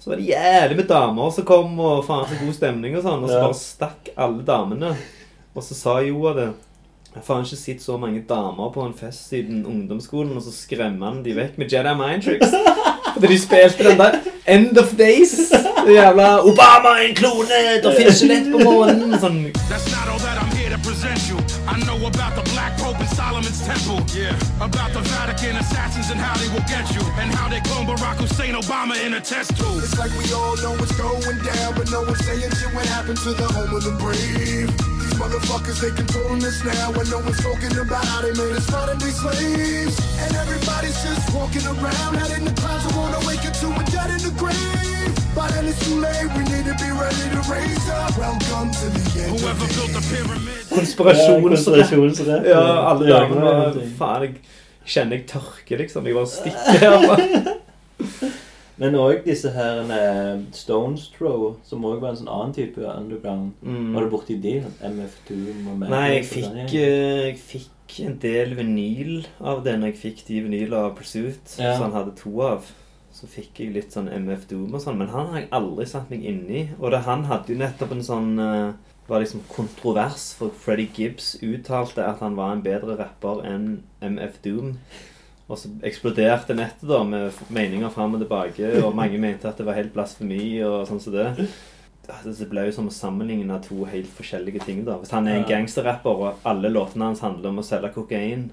Så var det jævlig med damer som kom, og faen så god stemning og sånn. Og så
Ja.
bare stakk alle damene. Og så sa Joa det. Jeg har faen ikke sett så mange damer på en fest siden ungdomsskolen, og så skremmer han de vekk med Jedi Mind Tricks. Fordi de spilte den der End of Days. Det jævla Obama er en klone, det finnes ikke lett på månen. Sånn
That's not all that I'm here to present you. I know about the Black Pope in Solomon's Temple. Yeah. About the Vatican assassins and how they will get you. And how they clone Barack Hussein Obama in a test tube.
It's like we all know what's going down, but no one's saying shit what happened to the home of the brave. These motherfuckers, they controlling us now, and no one's talking about how they made us modern day slaves. And everybody's just walking around, head in the clouds, and wanna wake up to a dead in the grave. By then it's too late, we need to be ready to raise up. Welcome to the end. Whoever built the pyramid.
konspirasjonsrett.
konspirasjonsrett.
Ja, alle
Ja,
damene
det er
var
noe.
Faen, jeg kjenner jeg tørker, liksom. Jeg bare stikker herfra.
Men òg disse her eh, Stones Throw, som òg var en sånn annen type underground.
Mm.
Var det borti de? MF2 og Madness
Nei, jeg
og
fikk,
den gjengen?
eh, jeg fikk en del vinyl av det når jeg fikk de vinyl av Pursuit,
Ja.
som han hadde to av. Så fikk jeg litt sånn MF Doom og sånn, men han har jeg aldri satt meg inn i. Og det, han hadde jo nettopp en sånn eh, var liksom kontrovers, for Freddie Gibbs uttalte at han var en bedre rapper enn MF Doom. Og så eksploderte nettet da med meninger fram og tilbake, og mange mente at det var helt blasfemi og sånn som det. Altså, Det ble jo som å sammenligne to helt forskjellige ting. da. Hvis han er en
Ja.
gangsterrapper, og alle låtene hans handler om å selge kokain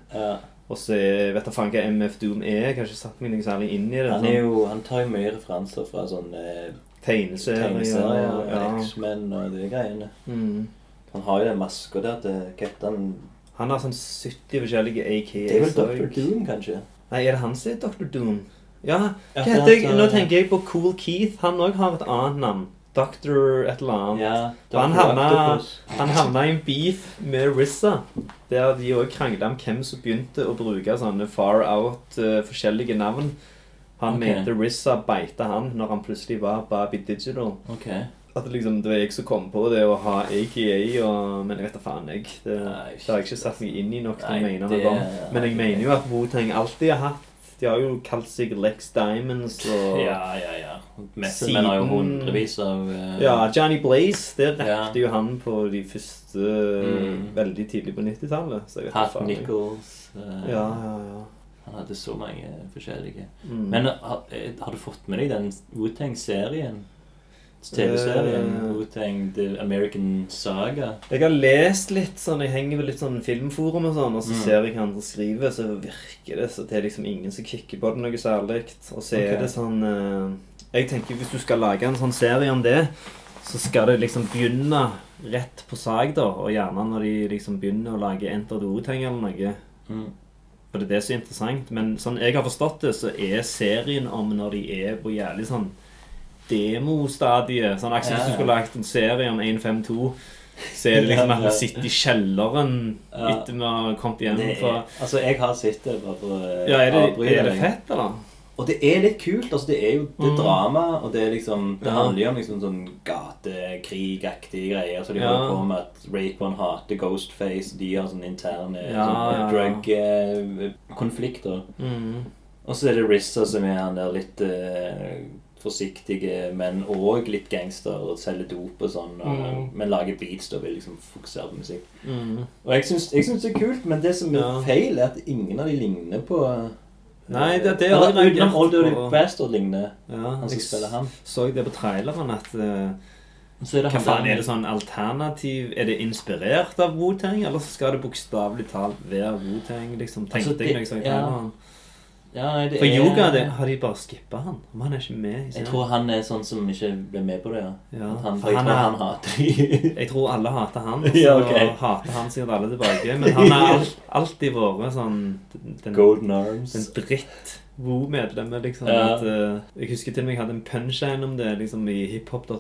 Og så er- vet jeg faen hva MF Doom er. Jeg har ikke satt meg noe særlig inn i det.
Han,
sånn.
er jo, han tar jo mye referanser fra sånn eh,
Tegneserier,
tegneserier og
ja.
X-Men og de greiene.
Mm.
Han har jo den maska der til Kettan.
Han har sånn 70 forskjellige AKs.
Det er vel
og-
Dr. Doom, kanskje?
Nei, er det han som er Dr. Doom? Ja, hva
Ja, for
heter jeg?
at,
Nå
eh,
tenker jeg på Cool Keith. Han òg har et annet navn. Dr. et eller annet.
Dr.
Og han, havna,
Octopus.
han havna i en beef med Rissa, der de òg krangla om hvem som begynte å bruke sånne far out eh, forskjellige navn. Han
Ok.
mente Rissa beita han når han plutselig var Barbie Digital.
Ok.
At det liksom, det var jeg som kom på det å ha AKA og Men jeg vet da faen, jeg. Det, det har jeg ikke satt meg inn i nok til å
Nei,
mene
det-
noe om. Men jeg mener jo at Wu-Tang alltid har hatt De har jo kalt seg Lex Diamonds og
Ja, ja, ja. Method Man har jo hundrevis av, eh,
Ja, Johnny Blaze, det rappet jo han på de første
Mm.
Veldig tidlig på 90-tallet. så jeg vet da
Pat
faen, jeg.
Nichols. eh,
Ja, ja, ja.
Han hadde så mange forskjellige.
Mm.
Men har, eh, har du fått med deg den Wu-Tang-serien? TV-serien?
Eh.
Wu-Tang The American Saga?
Jeg har lest litt sånn, jeg henger ved litt sånn filmforum og sånn, og så
Mm.
ser jeg hva andre skriver, så virker det så det er liksom ingen som kikker på det noe særlig. Og så
Ok.
er det sånn eh, Jeg tenker hvis du skal lage en sånn serie om det, så skal det liksom begynne rett på sak, da. Og gjerne når de liksom begynner å lage Enter the Wu-Tang eller noe.
Mm.
For det er det som er interessant. Men sånn jeg har forstått det, så er serien om når de er på jævlig sånn demostadiet. Sånn, akkurat
Ja,
hvis
ja.
du skulle lagt en serie om 152, så er det liksom at vi sitter i kjelleren etter vi har kommet hjem
Det er-
fra
Altså, jeg har sett det bare for å
Ja, er det-
avbryte
er det
deg.
fett, eller?
Og det er litt kult. altså Det er jo det er
Mm.
drama, og det er liksom Det
Ja.
handler jo om liksom sånn gatekrigaktige greier. Så de
Ja.
holder på med at Raekwon hater Ghostface. De har sånne eh, interne
Ja, ja, ja.
drug-konflikter.
Mm.
Og så er det Rissa som er han der litt eh, forsiktige, men òg litt gangster og selger dop og sånn. Og,
Mm.
Men lager beats og vil liksom fokusere på musikk.
Mm.
Og jeg syns, jeg syns det er kult, men det som er
Ja.
feil, er at ingen av de ligner på eh,
Nei, det, det
Eller
har jeg
utenom
reagert
Old Dirty
på.
Bastard ligner
Ja,
han som
jeg
spiller han.
så det på traileren at eh,
Så er
Hva
det han
faen
der-
er det sånn alternativ Er det inspirert av Wu-Tang, eller skal det bokstavelig talt være Wu-Tang? Liksom, tenkte
Altså, det-
jeg når jeg så
ja.
traileren.
Ja, nei, det
For
er-
yoga, det, har de bare skippa han? Om han er ikke med? i
Jeg
serien?
tror han er sånn som ikke ble med på det. ja.
Ja,
At han,
for
jeg
han
tror
er-
han hater de.
Jeg tror alle hater han, og så
Ja, ok.
hater han sikkert alle tilbake. Men han har alt, alltid vært sånn den,
Golden Arms.
Den dritt Wu-medlemmet, liksom.
Ja.
At, eh, jeg husker til og med jeg hadde en punchline om det liksom i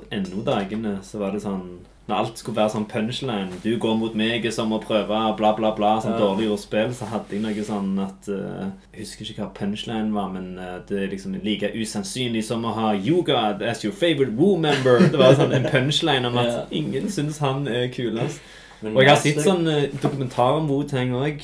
hiphop.no-dagene. Så var det sånn Når alt skulle være sånn punchline Du går mot meg er som å prøve bla, bla, bla. Sånn
Ja.
dårlig ordspill. Så hadde jeg noe sånn at eh, Jeg husker ikke hva punchline var, men eh, det er liksom like usannsynlig som å ha yoga as your favorite Wu-member. Det var sånn en punchline om at
Ja. Mm.
ingen syns han er kulest.
Men
Og jeg har
neste-
sett sånn eh, dokumentar om Wu-Tang òg.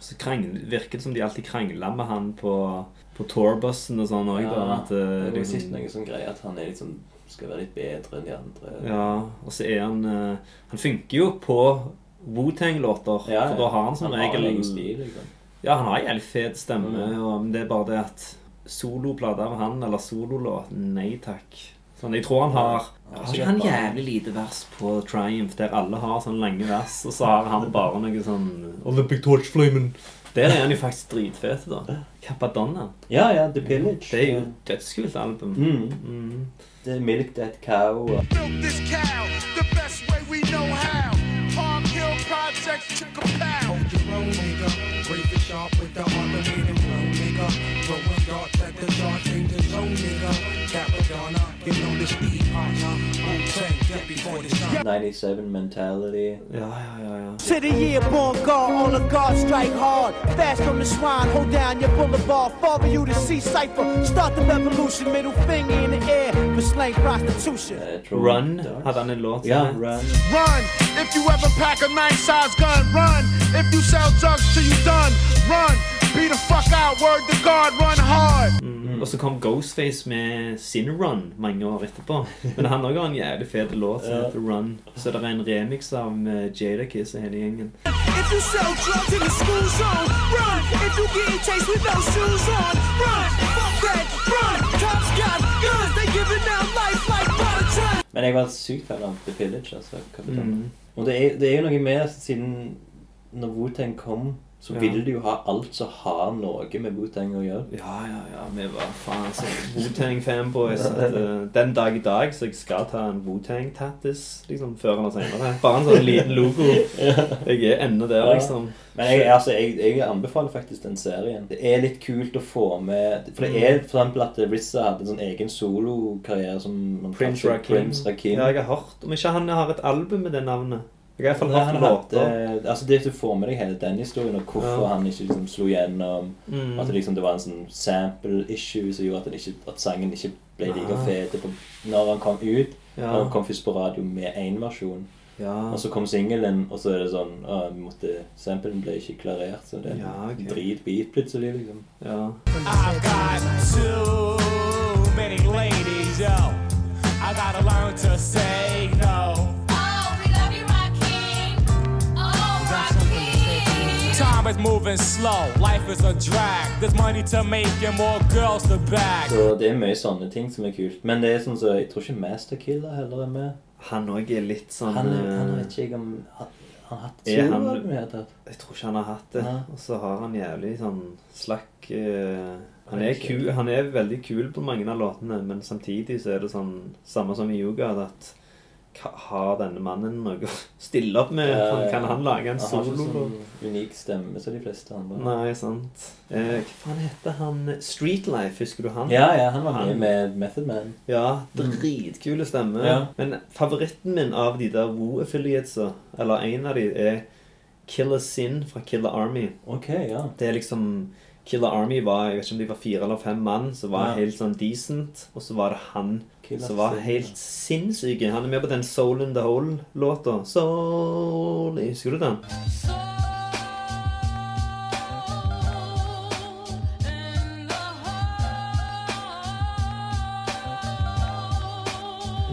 Så krangel, virker det som de alltid krangler med han på, på tourbussen og sånn òg.
Ja,
at, eh,
det var
liksom-
sist noe sånn greie at han er liksom, skal være litt bedre enn de andre.
Ja, og så er han eh, Han funker jo på Wu-Tang-låter,
Ja, ja.
for da har han som
Han har
regel
en egen stil, liksom.
Ja, han har en jævlig fet stemme, og men det er bare det at soloplater av han, eller sololåt Nei takk. Sånn, jeg tror han har
Ja,
Har ikke han
sikkert.
jævlig lite vers på Triumph, der alle har sånne lange vers, og så har han bare noe sånn Olympic Torch Flamen. Der er han jo faktisk dritfet, da. Capadonna.
Ja, ja, The Village.
Det er jo et dødskult album.
Mm. Det er Milk That Cow. uh, og-
milk this cow the best way we know how. Palm Hill Project to compound.
Hold your roll, nigga. Break it sharp with the automated flow, nigga. Throwing darts at the dark in the zone, nigga. Capadonna, you know the speed partner. Wu-Tang, Deppy 47.
97 Mentality.
Ja, ja, ja. ja.
To the year born guard, on the guard, strike hard. Fast from the swine, hold down your boulevard. Father, you to see cipher. Start the revolution, middle finger in the air for slang prostitution.
Run hadde han en låt som
uh, Ja,
het.
Run if you ever pack a nine size gun. Run if you sell drugs till you done. Run, be the fuck out. Word to God, run hard.
Og så kom Ghostface med sin Run mange år etterpå. Men han òg har en jævlig fet låt som
Ja.
heter Run. Så det er en remix av med Jadakiss og hele gjengen.
If you sell drugs in the school zone, run. If you getting chased with no shoes on, run. Fuck that, run. Cops got guns, they giving out life like Bonatron.
Men jeg var sykt fan av The Village. altså Kapitan.
Mm.
Og det er, det er jo noe med at siden når Wu-Tang kom, så
Ja.
ville de jo ha alt som har noe med Wu-Tang å gjøre.
Ja, ja, ja. Vi var faen så Wu-Tang-fanboys. at, eh, Den dag i dag så jeg skal ta en Wu-Tang-tattis liksom, før eller senere. Bare en sånn liten logo. Jeg er ennå der,
Ja.
liksom.
Men jeg, altså, jeg, jeg anbefaler faktisk den serien. Det er litt kult å få med For det
Mm.
er for eksempel at Rizza hadde en sånn egen solokarriere som
Prince Rakim.
Prince Rakim.
Ja, jeg har hørt Om ikke han har et album med det navnet. Jeg har i hvert fall
Nei, han
hørt låter.
hadde- altså det at Du får med deg hele den historien, og hvorfor
Ja.
han ikke liksom slo gjennom.
Mm.
At det liksom det var en sånn sample issue som gjorde at, den ikke, at sangen ikke ble like
Ah.
fet på- når han kom ut.
Ja. Ah.
Når han kom først på radio med én versjon.
Ja.
Og så kom singelen, og så er det sånn å, vi måtte, Samplen ble ikke klarert, så det er en dritbeat plutselig, liksom.
I've got too many ladies, yo. I gotta learn to say no. Time is moving slow, life is a drag. There's money to make and more girls to bag.
Så det er mye sånne ting som er kult. Men det er sånn så, jeg tror ikke Masterkiller heller er med.
Han òg er litt sånn
Han, han
eh,
vet ikke jeg om Han, han har hatt
Er
solo
han-
album i det hele tatt.
Jeg tror ikke han har hatt det.
Nei.
Og så har han jævlig sånn slakk eh, han, er
Ok.
kul, han er veldig kul på mange av låtene, men samtidig så er det sånn samme som i yoga at hva- har denne mannen noe å stille opp med?
Ja,
Sånn,
ja.
Kan han lage en
Han har ikke
solo?
sånn unik stemme som de fleste andre.
Nei, sant. Eh, hva faen heter han Streetlife, husker du han?
Ja, ja, han var med med Method Man.
Ja, dritkule stemme.
Mm. Ja.
Men favoritten min av de der Woo-affiliatesa, eller en av de, er Killer Sin fra Killer Army.
Ok, ja.
Det er liksom Killer Army var jeg vet ikke om de var fire eller fem mann som var
Ja.
helt sånn decent. Og så var det han
Killer
som var
Satan.
helt sinnssyk. Han er med på den Soul in the Hole-låta. Soul Husker du den?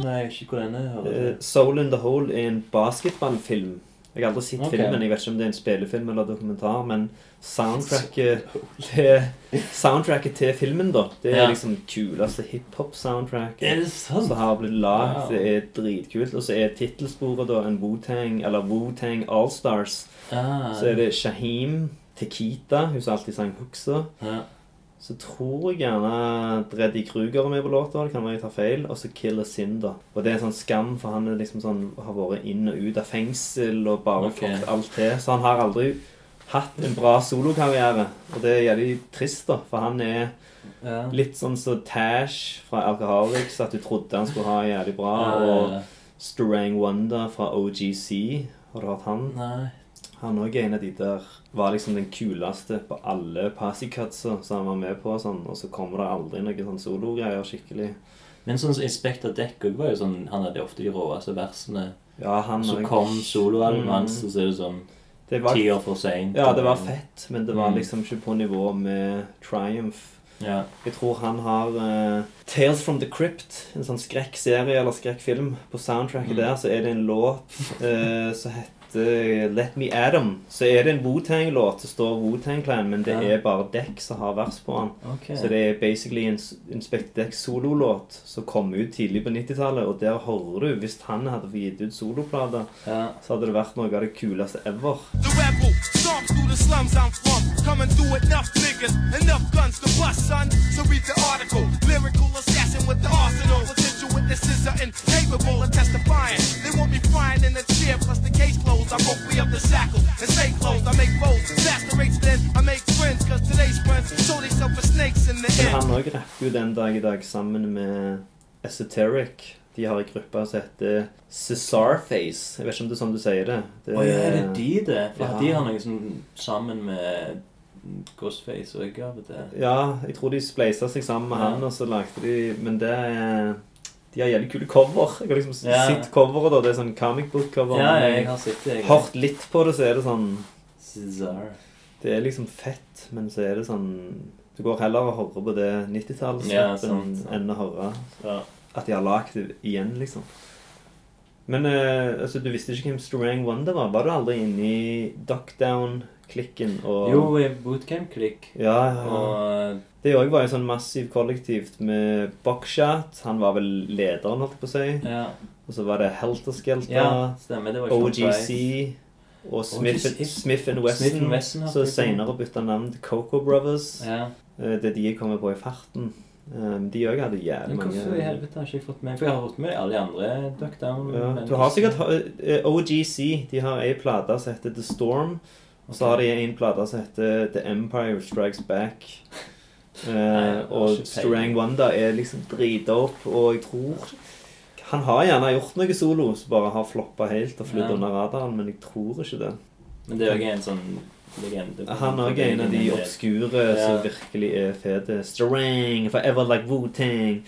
Nei, ikke hvor den er. hører
Eh,
jeg.
Soul in the Hole er en basketballfilm. Jeg har aldri sett
Ok.
filmen. Jeg vet ikke om det er en spillefilm eller dokumentar, men soundtracket til, soundtracket til filmen, da, det er
Ja.
liksom kuleste hiphop-soundtrack
Er det sant?
som har blitt lagd.
Wow.
Det er dritkult. Og så er tittelsporet da en Wu-Tang, eller Wu-Tang All-Stars.
Ah.
Så er det Shaheem, Tequita, hun som alltid sang hooksa.
Ja.
Så tror jeg gjerne Dreddy Kruger er med på låta. Det kan være jeg tar feil. Og så Killer Cinder. Og det er en sånn skam, for han er liksom sånn, har vært inn og ut av fengsel og bare
Ok.
fått alt til. Så han har aldri hatt en bra solokarriere. Og det er jævlig trist, da, for han er
Ja.
litt sånn som Tash fra Alcoholics, at du trodde han skulle ha jævlig bra.
Ja, ja, ja.
Og Strang Wonder fra OGC. Har du hørt han?
Nei.
Han òg er en av de der var liksom den kuleste på alle passicutsa som han var med på. og Sånn, og så kommer det aldri noen sånn sologreier skikkelig.
Men sånn som Inspector Deck også var jo sånn Han hadde ofte de råeste versene.
Ja, han
så
også.
kom soloalbumet
Mm.
hans, og så er det sånn
Det var-
ti år for seint.
Ja, det var fett, men det var
Mm.
liksom ikke på nivå med Triumph.
Ja.
Jeg tror han har eh, Tales from the Crypt, en sånn skrekkserie eller skrekkfilm. På soundtracket
Mm.
der så er det en låt eh, som heter Let Me Adam. Så er det en Wu-Tang-låt som står Wu-Tang Clan, men det
Ja.
er bare Dekk som har vers på den.
Ok.
Så det er basically en s- Inspector Deck sololåt som kom ut tidlig på 90-tallet, og der hører du Hvis han hadde fått gitt ut soloplater, så hadde det vært noe av det kuleste ever.
The rebel, storms through the slums I'm from. Coming through enough niggas, enough guns to bust, son. So read the article. Lyrical assassin with the arsenal. Potential witnesses are incapable of testifying. They won't be frying in the chair, plus the case closed. I broke free of the shackle and stay closed. I make foes, saturates then. I make friends, cause today's friends show themselves as snakes in the
Men
end.
han òg rapper jo den dag i dag sammen med Esoteric. De har en gruppe som heter Cesarface. Jeg vet ikke om det er sånn du sier det. det
Å ja, er
Eh,
det de det? For de har noe sånn sammen med Ghostface og jeg av og til.
Ja, jeg tror de spleisa seg sammen med
Ja.
han, og så lagde de Men det er De har jævlig kule cover. Jeg har liksom
Ja.
sett coveret, da. Det er sånn comic book-cover.
Ja,
men
jeg har sett det, jeg.
Hørt litt på det, så er det sånn
Cesar.
Det er liksom fett, men så er det sånn Du går heller og hører på det 90-tallet
Ja,
enn å høre at de har lagd det igjen, liksom. Men eh, altså, du visste ikke hvem Strang Wonder var? Var du aldri inne i Duckdown-klikken og
Jo, i Bootcamp-klikk.
ja, ja, ja.
Og eh,
Det òg var jo sånn massivt kollektivt med Buckshot. Han var vel lederen, holdt jeg på å si. Og så var det Helter Skelter,
Ja, stemmer, det var Sean Price.
OGC og Smith,
OGC.
Smith and
Smith
Wesson.
and Wesson har
så
blitt det. sånn.
senere bytta navn til Coco Brothers.
Ja.
Eh, Det er de jeg kommer på i farten. Eh, De òg hadde jævlig
Men
mange
hvorfor i helvete har ikke jeg fått med For jeg har fått med alle de andre Duckdown.
Ja, du har sikkert eh, OGC. De har ei plate som heter The Storm. Og så har de en plate som heter The Empire Strikes Back. Eh,
jeg har
og
ikke peiling.
Strang Wanda er liksom drita opp, og jeg tror Han har gjerne gjort noe solo som bare har floppa helt og flydd
Ja.
under radaren, men jeg tror ikke det.
Men det er jo en sånn legende.
Han er også en av de obskure som virkelig er fete. Strang, Forever Like Wu-Tang.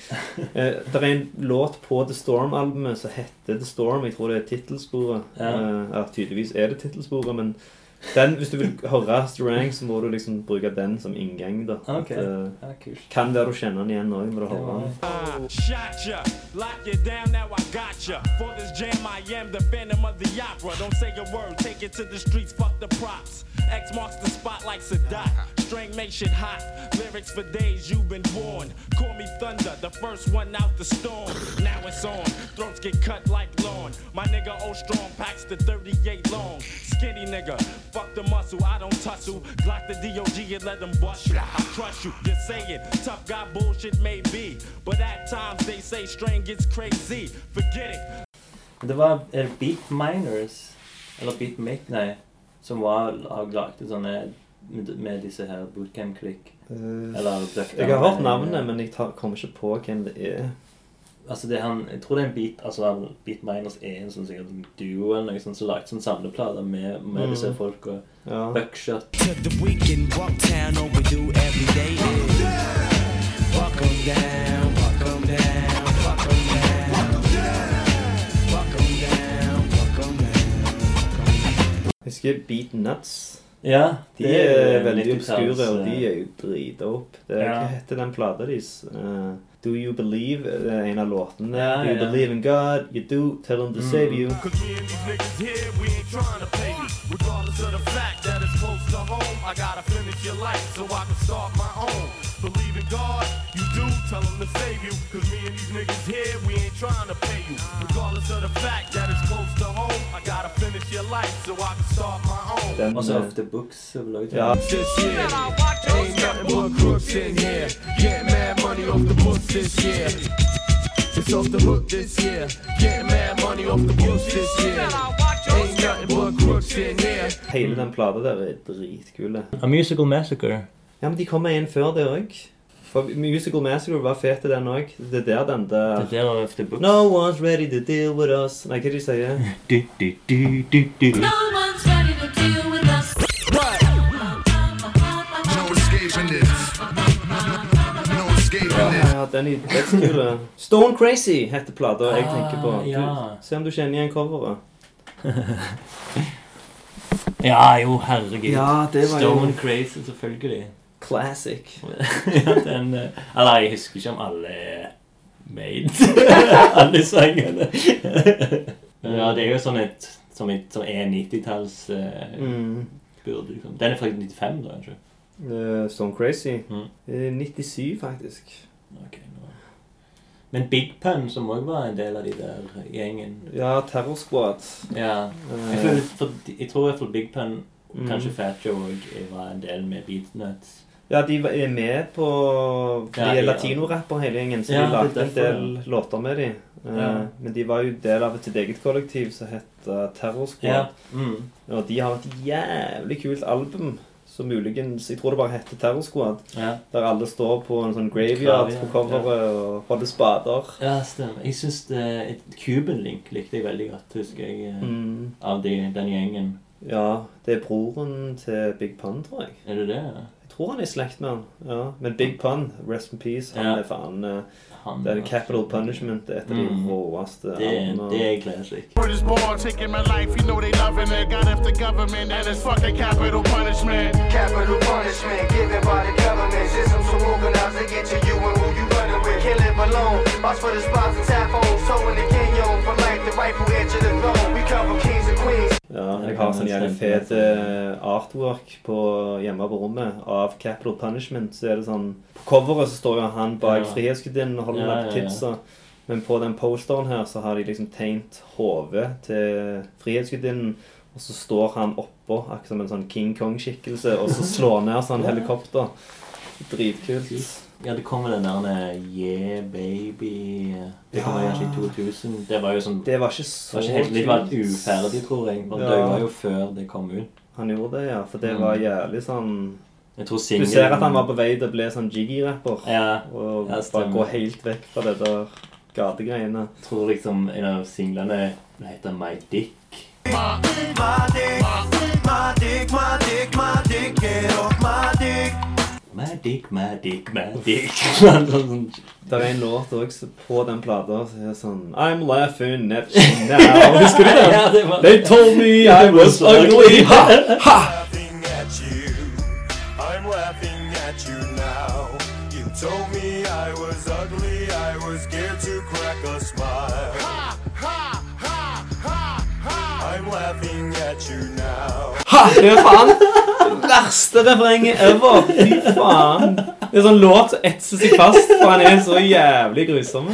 Eh, det er en låt på The Storm-albumet som heter The Storm. Jeg tror det er tittelsporet.
Ja.
Eh, ja, tydeligvis er det tittelsporet, men den, hvis du vil høre Strang, så må du liksom bruke den som inngang. da.
Ok.
eh,
Ja, kult.
Kan være du kjenner den igjen òg når du hører den.
I shot ya, lock ya down, now I got ya. For this jam, I am the phantom of the opera. Don't say a word, take it to the streets, fuck the props. X marks the spot like Sadat. String make shit hot. Lyrics for days, you've been born. Call me thunder, the first one out the storm. Now it's on, throats get cut like lawn. My nigga O Strong packs the 38 long. Skinny nigga, fuck the muscle, I don't tussle. Glock the DOG and let them bust you. I crush you, just say it. Tough guy bullshit may be, but at times they say strain gets crazy. Forget it.
Det var er det Beat Miners, eller Beat Make, nei, som var lag- lagde sånne sånn, eh, med, med disse her bootcamp-klikk.
Eh,
Eller eh, Duckdown.
Jeg har hørt navnet, men jeg tar, kommer ikke på hvem det er.
altså det han, Jeg tror det er en beat altså han, Beat Miners er en sånn sikkert duo eller noe sånt som lagde sånn samleplater med, med
Mm.
disse folka.
Ja.
Buckshot
To the weekend, walk town overdue every day. is. Walk 'em down, walk 'em down, walk 'em down. Walk 'em down, walk 'em down.
Jeg husker Beat Nuts.
Ja,
de,
de
er,
er
veldig
90-talls,
obskure, og de
eh,
er jo dritopp. Det er,
Ja.
Hva heter den plata deres? Eh, Do You Believe? eh, Det er en av låtene.
Ja,
do You
ja.
Believe in God? You Do? Tell Him to
Mm.
Save You.
Cause me and these niggas here, we ain't trying to pay you. Regardless of the fact that it's close to home, I gotta finish your life so I can start my own. Believe in God, you do, tell him to save you. Cause me and these niggas here, we ain't trying to pay you. Regardless of the fact that it's close to home, I gotta finish your life so I can start my own.
Den,
Og så
eh,
Off The Books. er vel også-
Ja.
This year, ain't nothing but crooks in here. Get mad money off the books this year. It's off the hook this year. Get mad money off the books this year. Ain't nothing but crooks in here.
Mm.
Hele den plata der er dritkule.
A Musical Massacre.
Ja, men de kommer inn før det òg. For Musical Massacre var fet i den òg. Det er der den der
Det der er Off The Books.
No one's ready to deal with us. Nei, hva er det de sier?
Du, du, du, du, du.
No one's ready to deal with us.
No escaping this. No escaping
Ja,
this.
ja, den i dødskule. Stone Crazy heter plata jeg
Ah,
tenker på. Du,
ja.
Se om du kjenner igjen coveret.
Ja, jo, herregud.
Ja, det var jo-
Stone Crazy, selvfølgelig.
Classic.
ja, den eh, Eller, jeg husker ikke om alle er made. alle sangene. Men ja, det er jo sånn et som, et, som er 90-talls eh,
Mm.
burde, liksom. Den er fra 95, da, kanskje?
Eh, Stone Crazy.
Mm.
Eh, 97, faktisk.
Men Big Pun, som òg var en del av de der gjengen
Ja, Terror Squad.
Ja.
Eh,
Jeg, føler, for, jeg tror i hvert fall Big Pun,
Mm.
kanskje Fat Joe òg, var en del med Beat Nuts.
ja, de var- er med på De
Ja,
er
ja.
latinorapper hele gjengen, så
Ja,
de
det er
lagde en
derfor,
del låter med dem.
Ja.
Men de var jo del av et sitt eget kollektiv som het eh, Terror Squad.
Ja, mm.
Og de har et jævlig kult album som muligens Jeg tror det bare heter Terror Squad.
Ja.
Der alle står på en sånn graveyard
Graveyard,
på coveret og holder spader.
Ja, stemmer. Jeg syns Cuban Link likte jeg veldig godt, husker jeg. eh,
Mm.
Av de, den gjengen.
Ja, det er broren til Big Pun, tror jeg.
Er det det? ja?
Jeg tror han er i slekt med han. Ja. Men Big Pun, rest in peace, han
Ja.
er faen eh,
Han
Det er
var-
Capital Punishment. Det er et av de
Mm.
råeste
Det er-
albumene.
det er classic.
Word is born, taking my life. You know they loving it. God after government, and it's fucking capital punishment. Capital punishment given by the government. Systems to organize to get to you and who you running with. Can't live alone. Box for the spots and tap phones. Towing the canyon for life. The rightful edge of the throne. We come from kings and queens.
Ja, jeg har sånn jævlig fet eh, artwork på, hjemme på rommet av Capital Punishment. Så er det sånn På coveret så står jo han bak
Ja.
Frihetsgudinnen og holder
Ja,
med på
ja, ja.
kidsa. Men på den posteren her så har de liksom tegnet hodet til Frihetsgudinnen. Og så står han oppå, akkurat som en sånn King Kong-skikkelse, og så slår ned sånn helikopter. Dritkult.
Ja, det kom vel den der eh, Yeah Baby eh, Det kom
Ja.
kanskje i 2000. Det var jo sånn
Det var ikke så
var ikke helt, Det var
kult.
uferdig, tror jeg. Men
Ja.
Det var jo før det kom ut.
Han gjorde det, ja. For det
Mm.
var jævlig sånn
Jeg tror
Du
singelen-
ser at han var på vei til å bli sånn jiggy-rapper.
Ja,
og
ja,
bare
stemmer.
gå helt vekk fra det der gategreiene.
Jeg tror liksom en av singlene heter My Dick.
My dick, my dick, my dick, my dick, my dick, get off my dick.
My Dick, My Dick, My Dick.
Det er en låt også på den plata som er sånn I'm laughing at you now. Husker du den?
Ja, det var-
They told me I was ugly. Ha! Ha!
laughing at you. I'm laughing at you now. You told me I was ugly. I was scared to crack a smile. Ha ha ha ha ha. I'm laughing at you now.
Ha! Det er faen det verste refrenget ever. Fy faen. Det er sånn låt som etser seg fast, for han er så jævlig grusom.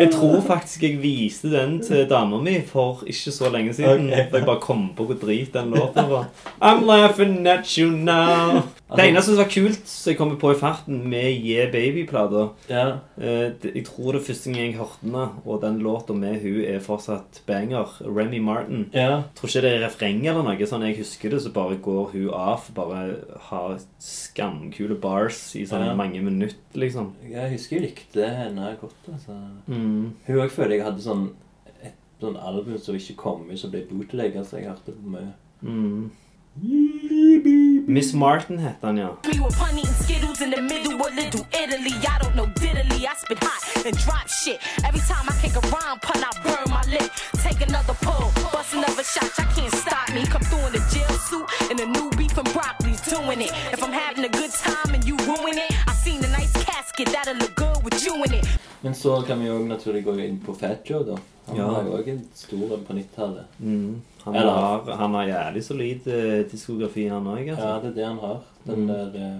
Jeg tror faktisk jeg viste den til dama mi for ikke så lenge siden.
Ok.
Da jeg bare kom på hvor drit den låta var. I'm laughing at you now. Det eneste som var kult, som jeg kommer på i farten med Yeah Baby-plata
Ja.
eh, det- Jeg tror det første gang jeg hørte den, og den låta med hun er fortsatt banger. Remy Martin.
Ja.
Tror ikke det er refreng eller noe sånn. Jeg husker det, så bare går hun av. Bare har skamkule bars i sånn i mange minutter, liksom.
Jeg husker jeg likte henne godt. altså.
Mm.
Hun òg føler jeg hadde sånn et sånn album som ikke kom ut, som ble bootleg. Altså, jeg hørte på mye.
Mm. Miss Martin heter han, ja.
We were pun eating Skittles in the middle of Little Italy. I don't know diddly. I spit hot and drop shit. Every time I kick a rhyme pun, I burn my lip. Take another pull, bust another shot. Y'all can't stop me. Come through in a jail suit and a new beef and broccoli's doing it. If I'm having a good time and you ruin it, I seen a nice casket that'll look good with you in it.
Men så kan vi òg naturlig gå inn på Fat Joe, da. Han
Ja.
var jo òg en stor en på 90-tallet.
Mm. Han,
Eller-
har, han har jævlig solid eh, diskografi, han òg. Altså.
Ja, det er det han har. Den
Mm.
der eh,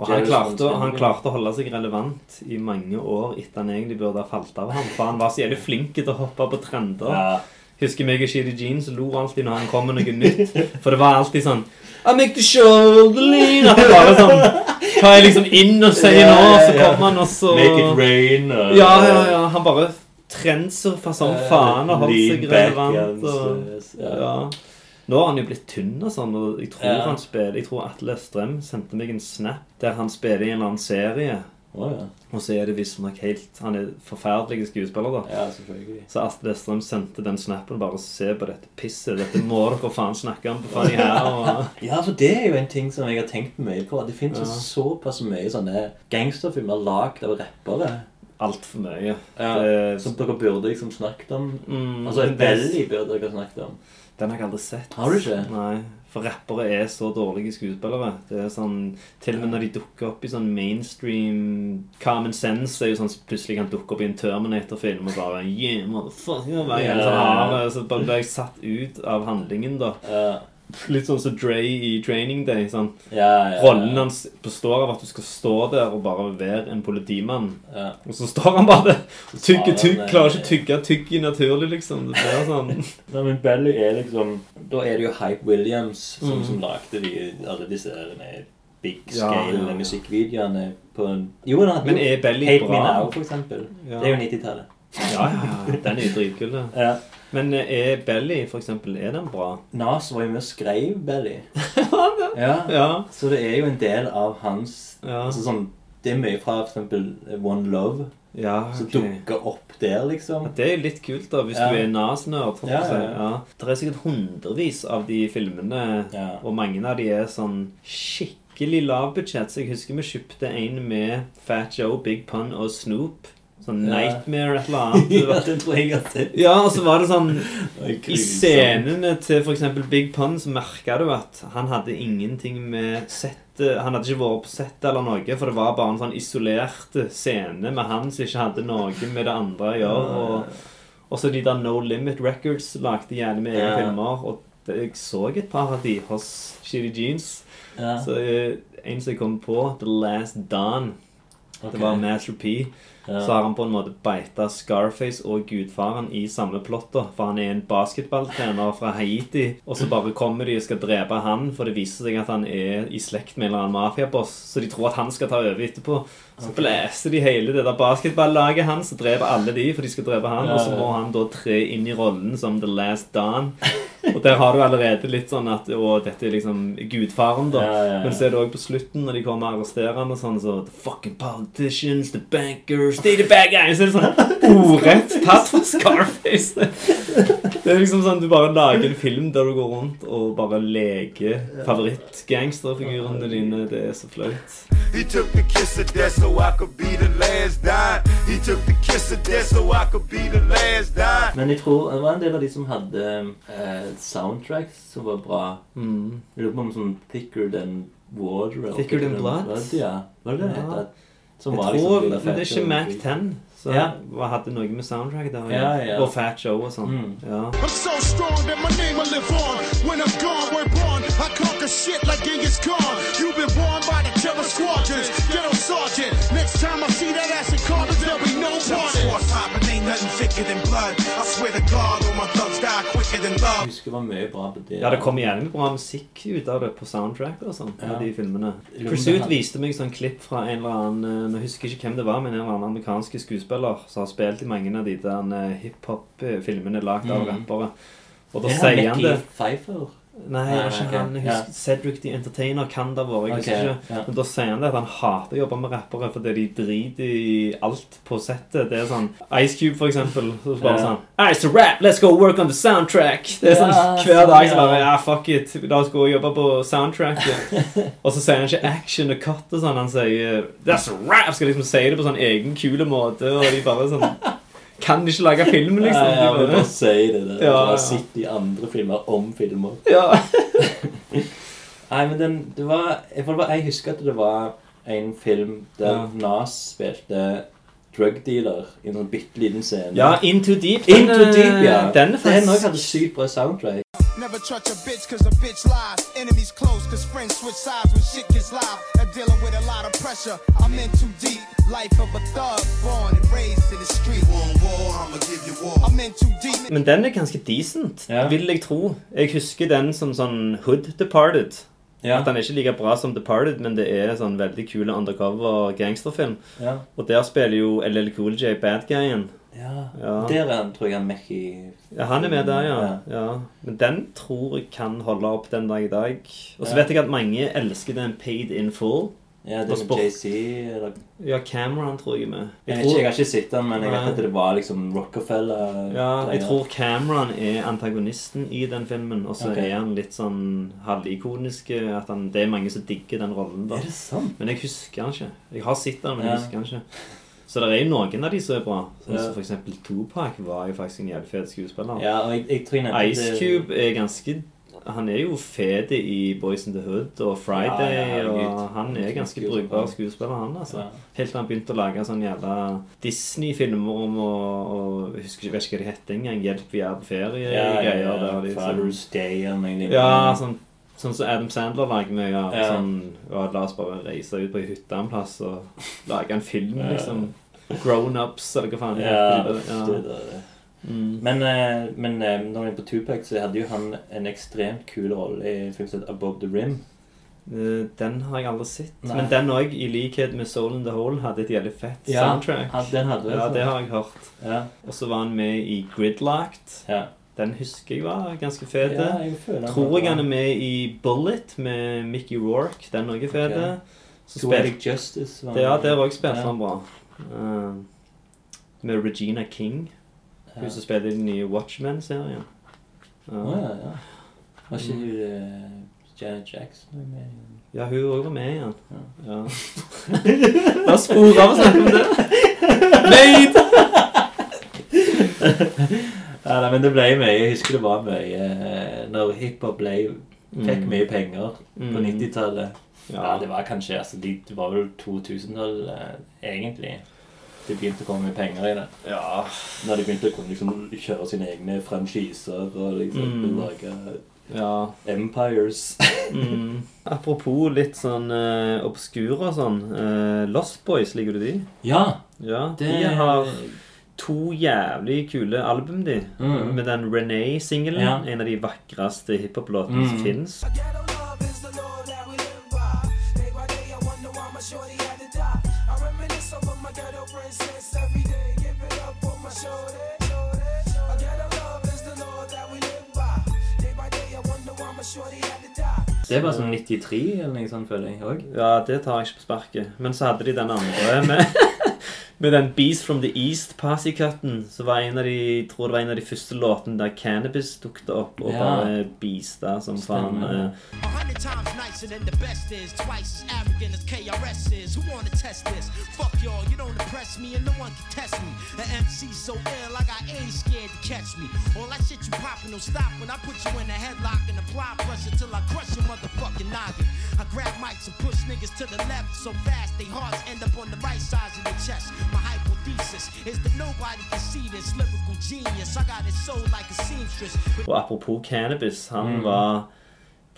Og han
Jailhouse
klarte, å- han
Rock.
klarte å holde seg relevant i mange år etter han egentlig burde ha falt av. Han, for han var så jævlig flink til å hoppe på trender.
Ja.
Husker meg og Shitty Jeans lo alltid når han kom med noe nytt. For det var alltid sånn I make the shoulder lean. At det bare sånn Hva er liksom inn og sier
Ja,
nå?
ja,
Så
ja.
kommer han, og så
Make it rain, og-
Ja, ja, ja. Han bare trendsurfer som
Eh,
faen og holdt seg
lean back
relevant.
hands,
Og,
ja.
ja. Nå har han jo blitt tynn og sånn, og jeg tror
Ja.
han spiller Jeg tror Atle Strøm sendte meg en snap der han spiller i en eller annen serie.
Å, ja.
Og så er det visstnok helt Han er forferdelig skuespiller, da.
Ja, selvfølgelig.
Så Astrid Strøm sendte den snappen bare se på dette pisset. Dette må dere faen snakke om på Fanny her. Og...
Ja, for det er jo en ting som jeg har tenkt mye på. Det finnes jo
Ja.
såpass mye sånne gangsterfilmer lagd av rappere.
Altfor mye.
Ja, som dere burde liksom snakket om.
Mm,
altså,
men det-
veldig burde dere snakket om.
Den har jeg aldri sett.
Har du ikke?
Nei. For rappere er så dårlige skuespillere. Det er sånn, Til og med når de dukker opp i sånn mainstream Common sense er jo sånn plutselig kan dukke opp i en Terminator-film og bare Yeah, motherfucker. Hver gang sånn,
Ja.
ja, Så bare ble jeg satt ut av handlingen, da. Litt sånn som Dre i Training Day. Sånn.
Ja, ja, ja.
Rollen hans består av at du skal stå der og bare være en politimann.
Ja.
Og så står han bare der og tygger
Så
tygg.
har han,
Klarer ikke å tygge tygg i naturlig, liksom. Det blir sånn
Nei, men Belly er liksom Da er det jo Hype Williams som,
Mm.
som lagde de, alle disse denne big
Ja,
scale
ja, ja.
musikkvideoene på en Jo, han hadde
Men
jo
er Belly bra?
Hate Me Now, for eksempel.
Ja.
Det er jo 90-tallet.
Ja, ja, ja. Den er jo dritkul, da.
Ja.
Men eh, er Belly, for eksempel, er den bra?
Nas var jo med og skrev Belly. ja. Så det er jo en del av hans altså sånn, Det er mye fra for eksempel One Love
Ja,
som
ok.
dukker opp der, liksom.
Det er jo litt kult, da, hvis
Ja.
du er Nas-nerd. holdt jeg
Ja,
på å si.
ja, ja.
Ja. Det er sikkert hundrevis av de filmene, og mange av de er sånn skikkelig lav budsjett. Så jeg husker vi kjøpte en med Fat Joe, Big Pun og Snoop. Sånn
Ja.
Nightmare et eller annet.
Ja, den tror jeg jeg har sett.
Ja, og så var det sånn
Det er
I scenene til f.eks. Big Pun så merka du at han hadde ingenting med settet Han hadde ikke vært på settet eller noe, for det var bare en sånn isolert scene med han som ikke hadde noe med det andre å gjøre. Og, og så de der No Limit Records lagde gjerne med egne
Ja.
filmer. Og det, jeg så et par av de hos Shitty Jeans.
Ja.
Så eh, en som jeg kom på, The Last Don.
Ok.
Det var Master P.
Ja.
Så har han på en måte beita Scarface og gudfaren i samme plott. da, For han er en basketballtrener fra Haiti, og så bare kommer de og skal drepe han, for det viser seg at han er i slekt med en eller annen mafiaboss, så de tror at han skal ta over etterpå. Så
Ok.
blæser de hele det der basketballaget hans og dreper alle de, for de skal drepe han.
Ja,
Og så
ja.
må han da tre inn i rollen som The Last Don. Og der har du allerede litt sånn at Å, dette er liksom gudfaren, da.
Ja, ja, ja.
Men så er det òg på slutten, når de kommer og arresterer han og sånn, så The fucking politicians, the bankers, they the bad guys. Så er det sånn ordrett tatt fra Scarface. Det er liksom sånn du bare lager en film der du går rundt og bare leker favorittgangsterfigurene dine. Det er så flaut.
He took the kiss of death so I could be the last dime. He took the kiss of death so I could be the last dime.
Men jeg tror det var en del av de som hadde eh, soundtracks som var bra.
Mm.
Jeg lurer på om sånn Thicker Than Water eller
Thicker Than Blood?
Ja, var det det
Ja.
heter? Som
Jeg
var
tror,
liksom Lilla
men det er
Fat Joe.
ikke Mac 10 som
Ja.
hadde noe med soundtrack der, å
Ja,
gjøre.
ja. Mm.
og Fat Joe og sånn. Ja.
I'm so strong that my name will live on. When I'm gone, we're born. I conquer shit like Genghis Khan. You've been born by the terror squadrons. Ghetto sergeant. Next time I see that ass in Carter, there'll be no pardon.
But ain't nothing thicker than blood. I swear to God, all my thugs die quicker than love.
Jeg husker det var mye bra på det.
Ja, det kommer gjerne bra musikk ut av det på soundtrack og sånn.
Ja.
av de filmene.
Jo, men det
Pursuit
her-
viste meg sånn klipp fra en eller annen eh, Nå husker jeg ikke hvem det var, men en eller annen amerikansk skuespiller som har spilt i mange av de der eh, hiphop-filmene lagd av
Mhm.
rappere. Og da
Er han
sier han
Mickey
det
Pfeiffer?
Nei, jeg er
Nei,
ikke
ok,
han. Jeg
ja.
husker Cedric the Entertainer kan det ha vært. jeg husker
Ok,
ikke.
ja.
Men da sier han det at han hater å jobbe med rappere fordi de driter i alt på settet. Det er sånn Ice Cube, for eksempel. Så bare
Ja.
sånn I used to rap, let's go work on the soundtrack. Det er sånn
Ja,
hver dag
sånn,
så bare
ja.
Ja, fuck it. La oss gå og jobbe på soundtracket. og så sier han ikke action og cut og sånn. Han sier That's a rap! Skal liksom si det på sånn egen kul måte, og de bare sånn Kan de ikke lage film, liksom?
Ja, ja,
De
men bare si det. det.
Ja,
Ja,
ja.
Bare sitt i andre filmer om filmer.
Ja.
Nei, men den, det var jeg, får bare, jeg husker at det var en film der
Ja.
Nas spilte drug dealer i en sånn bitte liten scene.
Ja, Into Deep, den,
Into Deep, ja.
eh, den er faktisk-
Den også hadde sykt bra soundtrack.
Never touch a bitch cause a bitch lies. Enemies close cause friends switch sides when shit gets live. I'm dealing with a lot of pressure. I'm in too deep. Life of a thug, born and raised in the street. One war, I'ma give you war. I'm in too deep.
Men den er ganske decent, vil jeg tro. Jeg husker den som sånn Hood Departed. At den er ikke like bra som Departed, men det er sånn veldig kule undercover gangsterfilm.
Ja.
Og der spiller jo LL Cool J bad guyen.
Ja. Der er han, tror jeg han er med i
Ja, han er med der, ja. ja. Men den tror jeg kan holde opp den dag i dag. Og så
Ja.
vet jeg at mange elsker den Paid in Full.
Ja, det
Og
er med
sport-
JC eller
Ja, Cameron tror jeg er med.
Jeg, vet
tror-
ikke, jeg har ikke sett den, men jeg vet
Nei.
at det var liksom Rockefeller
Ja, jeg
greier.
tror Cameron er antagonisten i den filmen, og så
Ok.
er han litt sånn halvikonisk. eh, At han, det er mange som digger den rollen. da.
Er det sant?
Men jeg husker han ikke. Jeg har sett han, men
Ja.
jeg husker han ikke. Så det er jo noen av de som er bra. Sånn
Ja.
som for eksempel Tupac var jo faktisk en jævlig fet skuespiller.
Ja, og jeg- jeg tror jeg nevnte-
Ice Cube er ganske Han er jo fet i Boys in the Hood og Friday,
Ja, ja, herregud.
og han er ganske
Skuespiller.
brukbar skuespiller, han, altså. Helt til han begynte å lage sånne jævla Disney-filmer om å og jeg husker ikke, vet ikke hva de heter engang. 'Hjelp, vi er på ferie'-greier.
Ja, ja, ja,
der, liksom.
Father's Day liksom. eller noe lignende.
Ja, sånn Sånn som Adam Sandler lager mye av.
Ja.
Sånn, ja, la oss bare reise ut på ei hytte en plass og lage en film,
Ja.
liksom. Grown-ups, eller hva faen. det
Ja,
heter.
uff, det der, det.
Mm.
Men, eh, men eh, når vi er på Tupac, så hadde jo han en ekstremt kul rolle i en film som heter Above the Rim.
Eh, Den har jeg aldri sett.
Nei.
Men den òg, i likhet med Soul in the Hole, hadde et jævlig fett
Ja,
soundtrack.
ja, den hadde altså.
ja,
det.
det har jeg hørt. Og så var han med i Gridlocked. Den husker jeg var ganske fet.
Ja, jeg føler den
Tror
var
jeg
bra.
han er med i Bullet med Mickey Rourke. Den er også fet.
Ok.
Så
Poetic
spil-
Justice var han
Ja,
med.
der òg spilte
Ja.
han bra. Eh, med Regina King.
Ja.
Hun som spiller i den nye Watchmen-serien. Eh,
Å ja, ja. Var ikke hun eh, Janet Jackson med?
Ja, hun òg var med igjen. Ja. La oss spore av og snakke om det. Made!
ja, nei, men det ble mye. Jeg husker det var mye eh, når hiphop ble Fikk
Mm.
mye penger på
Mm.
90-tallet. Ja.
Ja.
det var kanskje altså, de, Det var vel 2000-tallet, eh, egentlig. Det begynte å komme mye penger i det.
Ja.
Når de begynte å kunne liksom, kjøre sine egne franchiser og liksom
Mm.
lage
Ja.
empires.
Mm. Apropos litt sånn uh, obskure og sånn. eh, Lost Boys, liker du de?
Ja.
ja
Det-
De har to jævlig kule album, de.
Mm.
Med den Renee-singelen.
Ja.
En av de vakreste hiphop-låtene som
Mm.
fins.
Det var sånn 93 eller noe sånt, føler jeg òg.
Ja, det tar jeg ikke på sparket. Men så hadde de den andre med, med den Beast from the East Posse-cutten. Så var en av de, jeg tror det var en av de første låtene der cannabis dukket opp og
Ja.
bare beasta som faen.
Stemmer.
eh.
A hundred times nicer than the best is, twice as arrogant as KRS is. Who wanna test this? Fuck y'all, you don't impress me, and no one can test me. An MC so ill, I got A scared to catch me. All that shit you poppin' don't stop when I put you in a headlock and apply pressure till I crush your motherfucking noggin. I grab mics and push niggas to the left so fast they hearts end up on the right sides of the chest. My hypothesis is that nobody can see this lyrical genius. I got it sold like a seamstress.
Eh, Og apropos cannabis, han
Mm.
var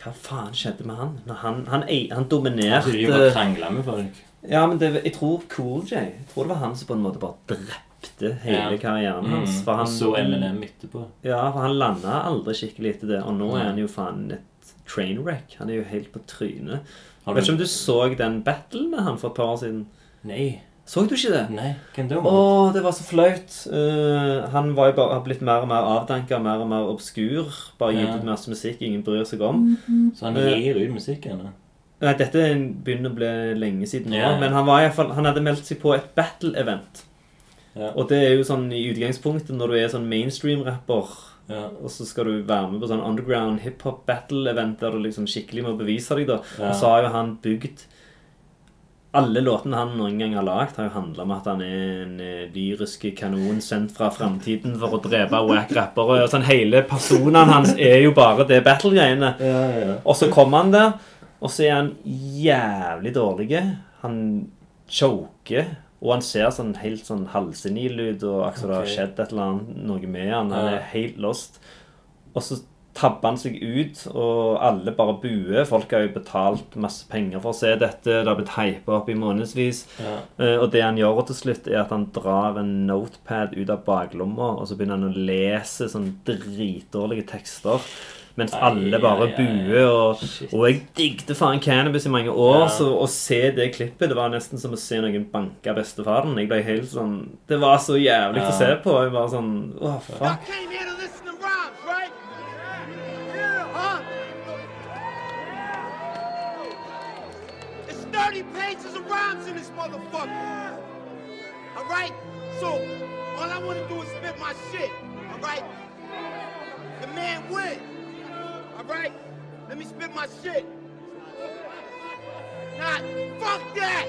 Hva faen skjedde med han? Når han, han, ei- han dominerte
Han driver og krangler med folk.
Ja, men det, jeg tror Cool J Jeg tror det var han som på en måte bare drepte hele
Ja.
karrieren
Mm.
hans. For
Og
han,
så Eminem etterpå.
Ja, for han landa aldri skikkelig etter det. Og nå
Nei.
er han jo faen et trainwreck. Han er jo helt på trynet. Jeg
Har du-
vet ikke om du så den battlen med han for et par år siden?
Nei.
Så du ikke det?
Nei, hvem det
Å,
var?
det var så flaut. Eh, han var jo bare har blitt mer og mer avdanka, mer og mer obskur. Bare gitt
Ja.
ut masse musikk ingen bryr seg om.
Så han
Eh,
gir ut musikk ennå?
Nei, dette er en- begynner å bli lenge siden nå,
Ja, ja.
men han, var i hvert fall, han hadde meldt seg på et battle-event.
Ja.
Og det er jo sånn i utgangspunktet når du er sånn mainstream-rapper, og så skal du være med på sånn underground hiphop-battle-event der du liksom skikkelig må bevise deg, da.
Ja.
Og så har jo han bygd alle låtene han noen gang har lagd, har jo handla om at han er en eh, lyrisk kanon sendt fra framtiden for å drepe wack-rappere. og Sånn, hele personen hans er jo bare det battle-greiene. Og så kommer han der, og så er han jævlig dårlig. Han choker, og han ser sånn helt sånn halvsenil ut, og akkurat det har
Ok.
skjedd et eller annet noe med han. Han
Ja.
er helt lost. Og så tabber han seg ut, og alle bare buer. Folk har jo betalt masse penger for å se dette. Det har blitt hypa opp i månedsvis.
Ja.
Eh, Og det han gjør til slutt, er at han drar en notepad ut av baklomma, og så begynner han å lese sånn dritdårlige tekster. Mens
Ai,
alle bare
ai, ai.
buer. Og, og jeg digget faen cannabis i mange år.
Ja.
Så å se det klippet Det var nesten som å se noen banke bestefaren. Jeg ble helt sånn Det var så jævlig å se
Ja.
på. Jeg var sånn Å, faen.
came here to listen to rhymes, right? Yeah. Huh? It's 30 pages of rhymes in this motherfucker. All right? So, all I want to do is spit my shit. All right? The man win. All right? Let me spit my shit. Not, fuck that!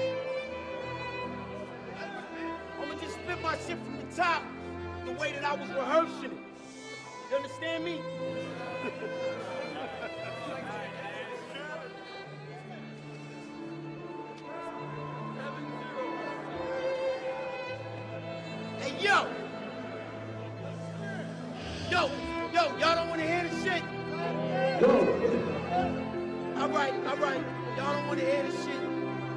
I'm gonna just spit my shit from the top the way that I was rehearsing it. You understand me? hey, yo! Yo, yo, y'all don't wanna hear this shit? Alright, alright. Y'all don't wanna hear this shit.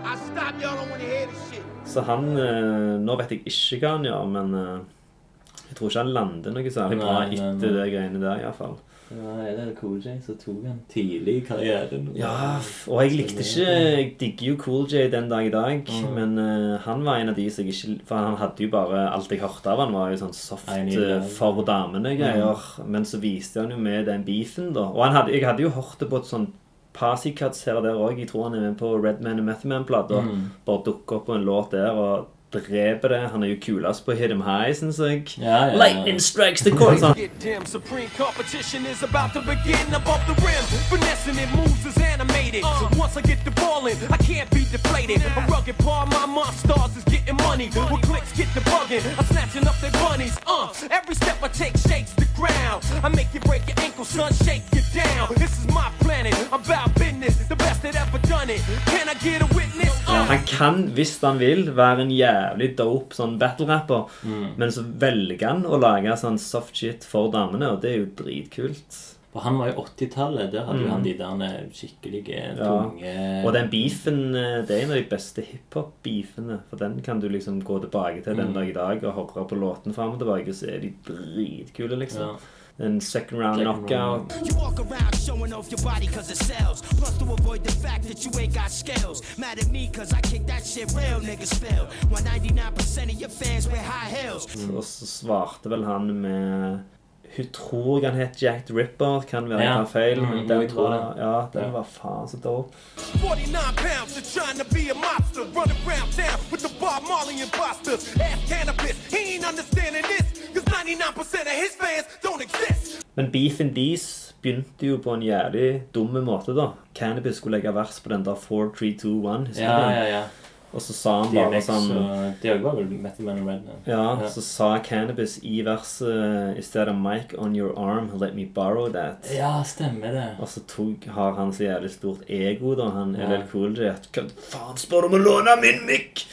I stop, y'all don't wanna hear this shit.
Så han eh, Nå vet jeg ikke hva han gjør, men eh, jeg tror ikke han lander noe særlig bra
Nei, nei,
etter
nei.
det greiene der, iallfall.
Nei, det er Cool J som tok han tidlig i karrieren.
Ja, f- og jeg likte ikke Jeg digger jo Cool J den dag i dag,
Mm.
men eh, han var en av de som jeg ikke For han hadde jo bare Alt jeg hørte av han var jo sånn soft
I need
eh,
love.
for damene-greier.
Mm.
Men så viste han jo med den beefen, da. Og han hadde, jeg hadde jo hørt det på et sånn Pasicuts her og der òg. Jeg tror han er med på Redman og Methman-plata.
Mm.
Bare dukker opp på en låt der og dreper det. Han er jo kulest på Hit 'em High, syns jeg.
Ja, ja, ja.
Lightning strikes the chord. Sånn.
Get dim. Supreme competition is about to begin above the rim. Finessing it moves is animated. Once I get the ball in, I can't be deflated. A rugged paw, my monsters is getting money. When clicks get the bugging, I'm snatching up their bunnies. Uh, every step I take shakes the ground. I make you break your ankle, son, shake you down. This is my planet. I'm about business, the best that ever done it. Can I get a witness?
Ja, han kan, hvis han vil, være en jævlig dope sånn battle-rapper.
Mm.
Men så velger han å lage sånn soft shit for damene, og det er jo dritkult.
For han var jo 80-tallet. Der hadde jo
Mm.
han de der skikkelige,
Ja.
tunge
Og den beefen eh, det er en av de beste hiphop-beefene. For den kan du liksom gå tilbake til den
Mm.
dag i dag og høre på låten fram og tilbake, så er de dritkule, liksom. En second round
Second round.
knockout.
You walk around showing off your body cause it sells. Plus to avoid the fact that you ain't got scales. Mad at me cause I kick that shit real niggas fail. Why 99% of your fans wear high heels.
Mm.
Og så svarte vel han med Hun tror han het Jack the Ripper, kan være jeg
Ja.
tar feil,
Mm,
men
jo,
den
jeg tror
tror jeg
det.
Ja, den
Ja.
var faen så dope.
49 pounds to trying to be a monster. Run around town with the Bob Marley imposters. Ass cannabis, he ain't understanding this. Cause 99% of his fans don't exist.
Men Beef and Bees begynte jo på en jævlig dumme måte, da. Cannabis skulle legge vers på den der 4321. husker
Ja,
du den?
ja, ja.
Og så sa han bare
DMX
sånn
og Det var vel Method Man og Redman.
ja,
Ja.
så sa Cannabis i verset Instead of mic on your arm, let me borrow that.
Ja, stemmer det.
Og så tok, har han så jævlig stort ego, da, han
Ja.
LL Cool J, at hva faen spør du om å låne min mic?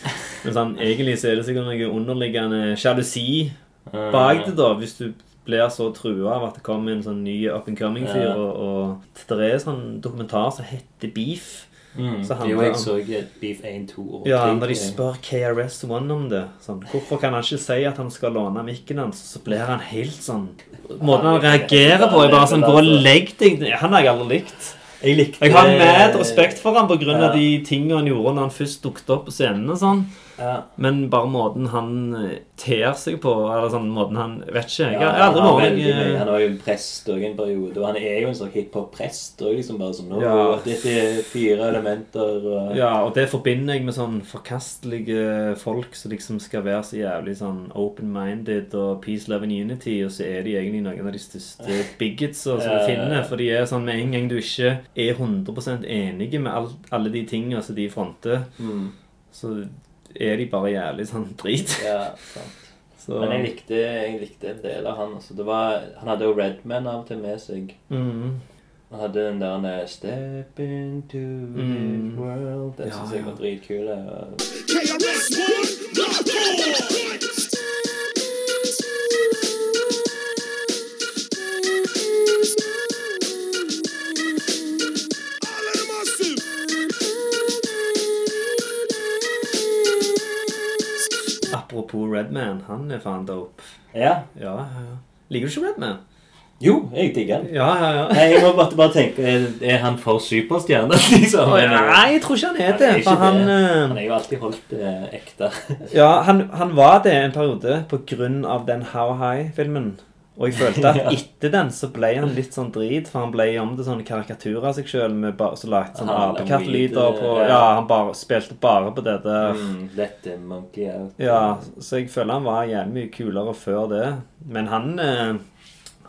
Men sånn, egentlig så er det sikkert noe underliggende sjalusi
Eh,
bak det, da. Hvis du blir så trua av at det kommer en sånn ny up and coming-fyr.
Ja.
Og, og det er sånn dokumentar som heter Beef.
Mm,
som
jo,
handler
jeg
om-
så et Beef 1, 2 og 3.
ja, når de spør KRS-One om det sånn, Hvorfor kan han ikke si at han skal låne mikken hans? Så blir han helt sånn Måten han reagerer på, er bare sånn Gå og legg deg ned. Han har jeg aldri likt.
Jeg likte
Jeg har mad respekt for han på grunn av
Ja.
de tingene han gjorde når han først dukket opp på scenen og sånn. Men bare måten han eh, ter seg på, eller sånn måten han Vet ikke. Jeg har
han,
aldri
har
vært
veldig mye. han
noen
var jo en prest også i en periode, og han er jo en slags hiphop-prest. Og liksom bare sånn, nå,
Ja.
Dette er fire elementer og
Ja, og det forbinder jeg med sånn forkastelige folk som liksom skal være så jævlig sånn open-minded og peace, love and unity, og så er de egentlig noen av de største bigotsa som du
Ja.
finner. For de er sånn med en gang du ikke er 100 enige med alt, alle de tingene som de fronter,
Mm.
så er de bare jævlig sånn drit.
Ja, sant.
Så-
Men jeg likte, jeg likte en del av han. Altså, det var, han hadde jo Redman av og til med seg.
Mhm.
Han hadde den der eh, Step into
Mm.
this world. Den
Ja,
synes jeg var dritkul. eh, og-
Apropos Redman, han er faen dope.
Ja.
Ja, ja, ja. Liker du ikke Redman?
Jo, jeg digger han.
Ja, ja, ja.
Nei, jeg må bare, bare tenke Er, er han for superstjerne, liksom?
Å, nei, jeg tror ikke han er det,
ikke
for han,
det.
eh,
han er jo alltid holdt eh, ekte.
Ja, han, han var det en periode på grunn av den How High-filmen. Og jeg følte at
Ja.
etter den så ble han litt sånn drit, for han ble om til sånne karikaturer av seg sjøl med bare, så sånn lagt sånne
Han hadde
apekattlyder
weed,
på
ja.
Ja, han bare, spilte bare på det der.
Mm, dette er monkey out.
Ja, så jeg føler han var jævlig mye kulere før det. Men han eh,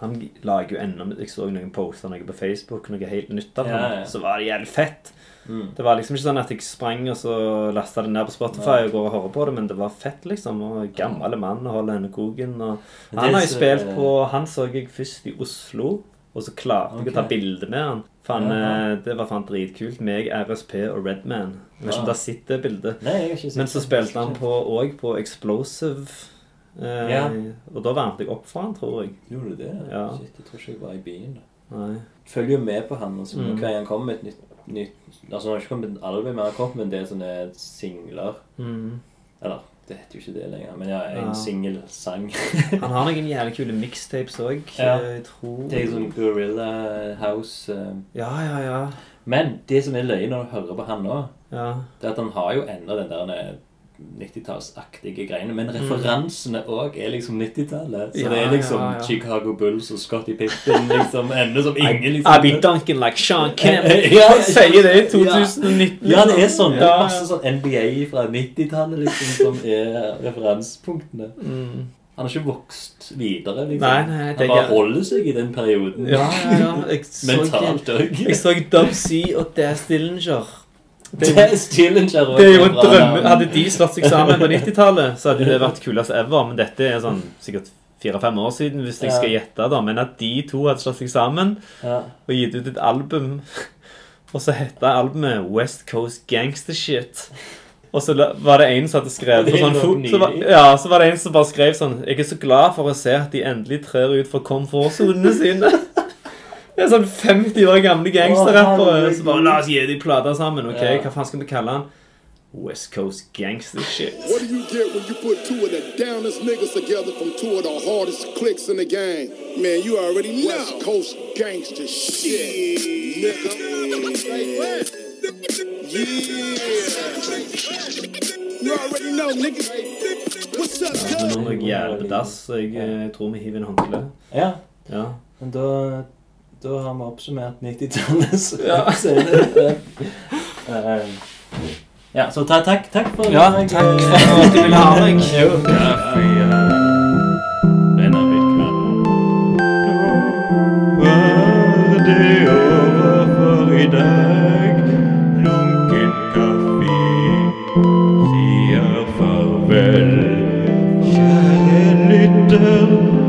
han lager jo enda Jeg så noen poster noe på Facebook, noe helt nytt av
Ja,
ham.
ja.
Så var det jævlig fett.
Mm.
Det var liksom ikke sånn at jeg sprang og så lasta det ned på Spotify
Nei.
og går og hører på det, men det var fett, liksom. Og gammel mann og holder henne koken. Og
Men
han
det
har jo
som-
spilt på Han så jeg først i Oslo, og så klarte jeg å ta
Ok.
bilde med han. Faen,
Ja.
eh, Det var faen dritkult. Meg, RSP og Redman. Jeg vet ikke om
Ja.
dere har sett det bildet.
Nei, jeg har ikke sett
Men så
det.
spilte han på, også på Explosive. Eh,
Ja.
Og da varmte jeg opp for han, tror jeg.
Gjorde du det?
Ja.
Shit, jeg tror ikke jeg var i byen. da.
Nei.
Følger jo med på han. Altså,
Mm.
Hver gang han kommer med et nytt, nytt Altså, han har ikke kommet med et album, men han har kommet med en del sånne singler.
Mm.
Eller, det heter jo ikke det lenger, men ja, en
Ja.
singelsang.
Han har noen jævlig kule mixtapes òg.
Ja.
Jeg tror
Det er sånn Gorilla House eh.
Ja, ja, ja.
Men det som er løye når du hører på han nå,
Ja.
det er at han har jo ennå den der eh, 90-tallsaktige greiene. Men referansene òg er liksom 90-tallet. Så
Mm. Ja,
det er liksom
ja, ja.
Chicago Bulls og Scotty Pippen liksom ender som ingen liksom
I, I be dunking like Sean Kemp.
Ja.
Han sier det i 2019.
Ja, det er sånn.
Ja,
Det er
ja.
masse sånn NBA fra 90-tallet liksom, som er referansepunktene.
Mm.
Han har ikke vokst videre. liksom.
Nei, nei, det er
han bare
ikke-
holder seg i den perioden.
Ja, ja, ja. Jeg så,
Mentalt òg.
jeg så Dub C og Daz Dillinger. Det-
Daz Dillinger var
Det er jo en
bra
drømme.
navn.
Hadde de slått seg sammen på 90-tallet, så hadde det vært kulest ever. Men dette er sånn sikkert fire-fem år siden, hvis jeg
Ja.
skal gjette. da Men at de to hadde slått seg sammen
Ja.
og gitt ut et album, og så hette albumet West Coast Gangster Shit. Og så la- var det en som hadde skrevet
Det
på
er
sånn
jo
fo- så var,
nydelig.
Ja, så var det en som bare skrev sånn Jeg er så glad for å se at de endelig trer ut fra komfortsonene sine. Det er sånn 50 år gamle gangsterrappere
herregud.
som bare La oss gi de plater sammen. Ok,
Ja.
hva faen skal vi kalle han? West Coast Gangster Shit.
What do you get when you put two of the downest niggas together from two of the hardest cliques in the game? Man, you already know. West Coast gangster shit, nigga. Yeah. You already know, nigga. What's up,
Men nå må jeg jævlig på dass, så jeg eh, tror vi hiver inn håndkleet.
Ja.
Ja.
Men da, da har vi oppsummert 90-tallet. Så,
Ja.
så er det- Eh, ja, så ta, takk, takk for
Ja, takk for at du ville ha meg.
Jo.
Var det over for i dag? Lunken kaffe sier farvel. Kjære lytter,